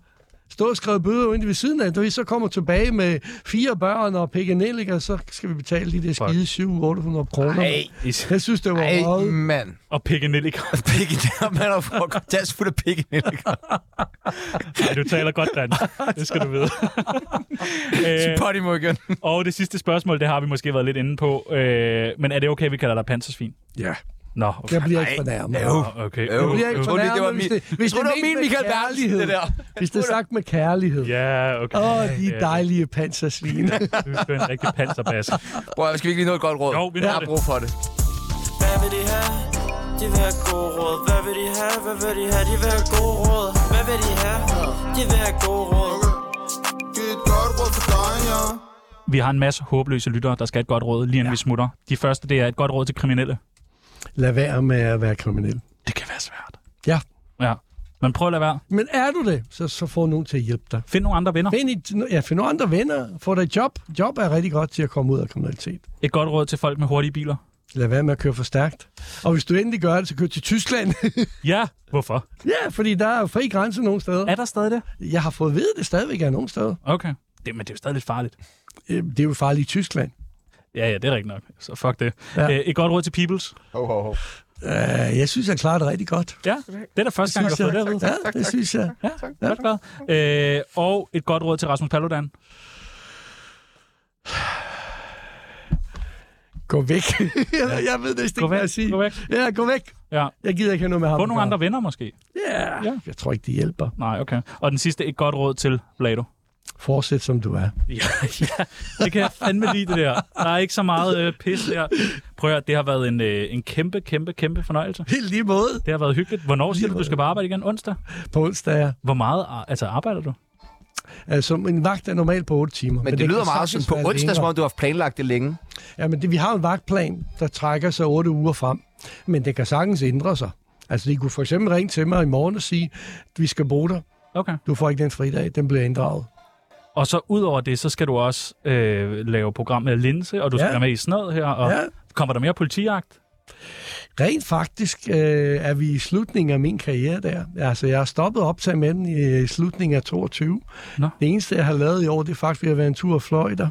[SPEAKER 3] stået og skrevet bøder ind ved siden af, når vi så kommer tilbage med fire børn og pekkenelliger, så skal vi betale de der skide 700-800 kroner.
[SPEAKER 1] Is-
[SPEAKER 3] Jeg synes, det var
[SPEAKER 2] Ej, mm.
[SPEAKER 3] meget...
[SPEAKER 2] mand.
[SPEAKER 1] Og pikkenelliker.
[SPEAKER 2] Pikken *laughs* der, man har fået kontakt fuldt af pikken.
[SPEAKER 1] Ej, du taler godt *laughs* dansk. Det skal du vide. øh,
[SPEAKER 2] Potty må igen.
[SPEAKER 1] og det sidste spørgsmål, det har vi måske været lidt inde på. Øh, men er det okay, vi kalder dig pansersvin?
[SPEAKER 3] Ja.
[SPEAKER 1] Nå, okay.
[SPEAKER 3] Jeg bliver ikke fornærmet.
[SPEAKER 2] Øv.
[SPEAKER 1] okay. Øh,
[SPEAKER 2] Øv.
[SPEAKER 3] bliver ikke
[SPEAKER 2] Øv. Undskyld, det var
[SPEAKER 3] fornærmet,
[SPEAKER 2] min-
[SPEAKER 3] hvis det-
[SPEAKER 2] Jeg
[SPEAKER 3] hvis
[SPEAKER 2] tror,
[SPEAKER 3] det
[SPEAKER 2] det var
[SPEAKER 3] er ment
[SPEAKER 2] min
[SPEAKER 3] med
[SPEAKER 2] Michael Berlsen, det der.
[SPEAKER 3] Hvis det er sagt med kærlighed. Åh,
[SPEAKER 1] Ja, okay.
[SPEAKER 3] yeah. oh, de
[SPEAKER 1] Ja,
[SPEAKER 3] dejlige pansersvin.
[SPEAKER 1] Du er sgu en rigtig panserbasse.
[SPEAKER 2] Prøv at, skal vi ikke lige nå et godt råd?
[SPEAKER 1] Jo, vi når
[SPEAKER 2] Jeg har
[SPEAKER 1] det.
[SPEAKER 2] brug for det.
[SPEAKER 6] Hvad vil de have? De vil have gode råd. Hvad vil de have? Hvad vil de have? De vil have gode råd. Hvad vil de have? De vil have gode råd.
[SPEAKER 4] Giv et godt råd til dig, ja.
[SPEAKER 1] Vi har en masse håbløse lyttere, der skal have et godt råd, lige inden ja. vi smutter. De første, det er et godt råd til kriminelle.
[SPEAKER 3] *laughs* Lad være med at være kriminel.
[SPEAKER 1] Det kan være svært.
[SPEAKER 3] Ja.
[SPEAKER 1] Ja. Men prøv at lade være.
[SPEAKER 3] Men er du det, så, så får nogen til at hjælpe dig.
[SPEAKER 1] Find nogle andre venner.
[SPEAKER 3] Find, et, ja, find nogle andre venner, få dig et job. Job er rigtig godt til at komme ud af kriminalitet.
[SPEAKER 1] Et godt råd til folk med hurtige biler.
[SPEAKER 3] Lad være med at køre for stærkt. Og hvis du endelig gør det, så kør til Tyskland. *laughs*
[SPEAKER 1] Ja, hvorfor?
[SPEAKER 3] ja, fordi der er jo fri grænse nogle steder.
[SPEAKER 1] Er der stadig det?
[SPEAKER 3] Jeg har fået at vide, at det stadigvæk er nogle steder.
[SPEAKER 1] Okay. Det, men det er jo stadig lidt farligt.
[SPEAKER 3] Øh, Det er jo farligt i Tyskland.
[SPEAKER 1] Ja, ja, det er rigtigt nok. Så fuck det.
[SPEAKER 3] Ja.
[SPEAKER 1] Ja. Øh, et godt råd til Peoples.
[SPEAKER 3] Øh, jeg synes, jeg klarer det rigtig godt.
[SPEAKER 1] Ja, det er da første gang, jeg har fået det at vide.
[SPEAKER 3] ja, det synes jeg.
[SPEAKER 1] Ja, godt været. Øh, og et godt råd til Rasmus Paludan.
[SPEAKER 3] Gå væk. *laughs* jeg, jeg ved næsten
[SPEAKER 1] Gå
[SPEAKER 3] ikke, hvad jeg
[SPEAKER 1] væk,
[SPEAKER 3] siger.
[SPEAKER 1] gå væk.
[SPEAKER 3] Ja, gå væk.
[SPEAKER 1] Ja.
[SPEAKER 3] Jeg gider ikke have noget med ham.
[SPEAKER 1] Få
[SPEAKER 3] at
[SPEAKER 1] nogle
[SPEAKER 3] gøre.
[SPEAKER 1] andre venner måske.
[SPEAKER 3] Ja,
[SPEAKER 1] Ja.
[SPEAKER 3] jeg tror ikke, de hjælper.
[SPEAKER 1] Nej, okay. Og den sidste, et godt råd til Vlado.
[SPEAKER 3] Fortsæt, som du er.
[SPEAKER 1] *laughs* Ja, ja, det kan jeg fandme lide, det der. Der er ikke så meget øh, pis der. Prøv at høre, det har været en, øh, en kæmpe, kæmpe, kæmpe fornøjelse.
[SPEAKER 3] Helt lige måde
[SPEAKER 1] Det har været hyggeligt. Hvornår siger du, du skal bare arbejde igen? Onsdag?
[SPEAKER 3] på onsdag. ja.
[SPEAKER 1] Hvor meget ar- altså, arbejder du?
[SPEAKER 3] Altså, en vagt er normalt på 8 timer.
[SPEAKER 2] Men det lyder
[SPEAKER 3] kan
[SPEAKER 2] meget
[SPEAKER 3] sagtens
[SPEAKER 2] sådan på
[SPEAKER 3] være
[SPEAKER 2] onsdag, som
[SPEAKER 3] længere.
[SPEAKER 2] om du har planlagt det længe.
[SPEAKER 3] Ja, men det, vi har en vagtplan, der trækker sig 8 uger frem. Men det kan sagtens ændre sig. Altså, de kunne for eksempel ringe til mig i morgen og sige, vi skal bruge dig.
[SPEAKER 1] Okay.
[SPEAKER 3] Du får ikke den fridag, den bliver inddraget.
[SPEAKER 1] Og så ud over det, så skal du også øh, lave program med Linse, og du skal
[SPEAKER 3] Ja.
[SPEAKER 1] være med i snad her. Og
[SPEAKER 3] Ja.
[SPEAKER 1] Kommer der mere politijagt?
[SPEAKER 3] Rent faktisk øh, er vi i slutningen af min karriere der. Altså, jeg har stoppet optag med den i øh, slutningen af 22.
[SPEAKER 1] Nå.
[SPEAKER 3] Det eneste, jeg har lavet i år, det er faktisk ved at være en tur og fløjter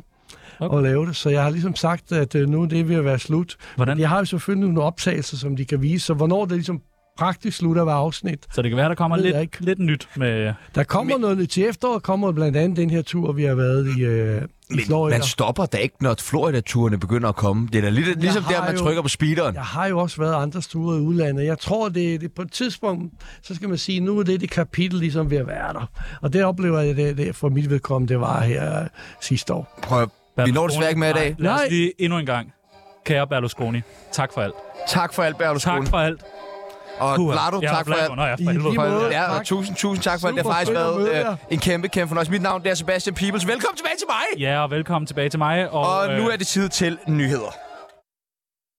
[SPEAKER 1] Okay.
[SPEAKER 3] okay. og lave det. Så jeg har ligesom sagt, at øh, nu er det ved at være slut.
[SPEAKER 1] Hvordan?
[SPEAKER 3] Jeg har jo selvfølgelig nogle optagelser, som de kan vise, så hvornår det ligesom praktisk slutter hver afsnit.
[SPEAKER 1] Så det kan være, der kommer
[SPEAKER 3] Ved jeg
[SPEAKER 1] lidt,
[SPEAKER 3] ikke.
[SPEAKER 1] lidt nyt med...
[SPEAKER 3] Der kommer Men... noget nyt til efteråret, kommer blandt andet den her tur, vi har været i, øh, i Florida.
[SPEAKER 2] Man stopper da ikke, når Florida-turene begynder at komme. Det er da lidt, ligesom
[SPEAKER 3] har
[SPEAKER 2] der, man
[SPEAKER 3] jo-
[SPEAKER 2] trykker på speederen.
[SPEAKER 3] Jeg har jo også været andre ture i udlandet. Jeg tror, det, det på et tidspunkt, så skal man sige, nu er det det kapitel ligesom ved at være der. Og det oplever jeg, det, det for mit vedkommende, det var her øh, sidste år.
[SPEAKER 2] Prøv at- Vi når det desværre ikke med i dag.
[SPEAKER 1] Nej, lad
[SPEAKER 3] Nej.
[SPEAKER 1] os lige endnu en gang. Kære Berlusconi, tak for alt.
[SPEAKER 2] Tak for alt, Bertel
[SPEAKER 1] Tak for alt.
[SPEAKER 2] Og
[SPEAKER 1] Puha.
[SPEAKER 2] Lardo,
[SPEAKER 1] Ja,
[SPEAKER 2] tak for alt.
[SPEAKER 1] Vlado. Nå, ja,
[SPEAKER 3] I
[SPEAKER 1] for helvede.
[SPEAKER 3] lige måde.
[SPEAKER 2] Ja,
[SPEAKER 3] Tak.
[SPEAKER 2] og tusind, tusind tak for alt. Det har
[SPEAKER 3] Super
[SPEAKER 2] faktisk
[SPEAKER 3] fedt at møde
[SPEAKER 2] været
[SPEAKER 3] jer.
[SPEAKER 2] øh, en kæmpe, kæmpe fornøjelse. Mit navn det er Sebastian Peoples. Velkommen tilbage til mig.
[SPEAKER 1] Ja, og velkommen tilbage til mig. Og,
[SPEAKER 2] Og nu
[SPEAKER 1] øh,
[SPEAKER 2] er det tid til nyheder.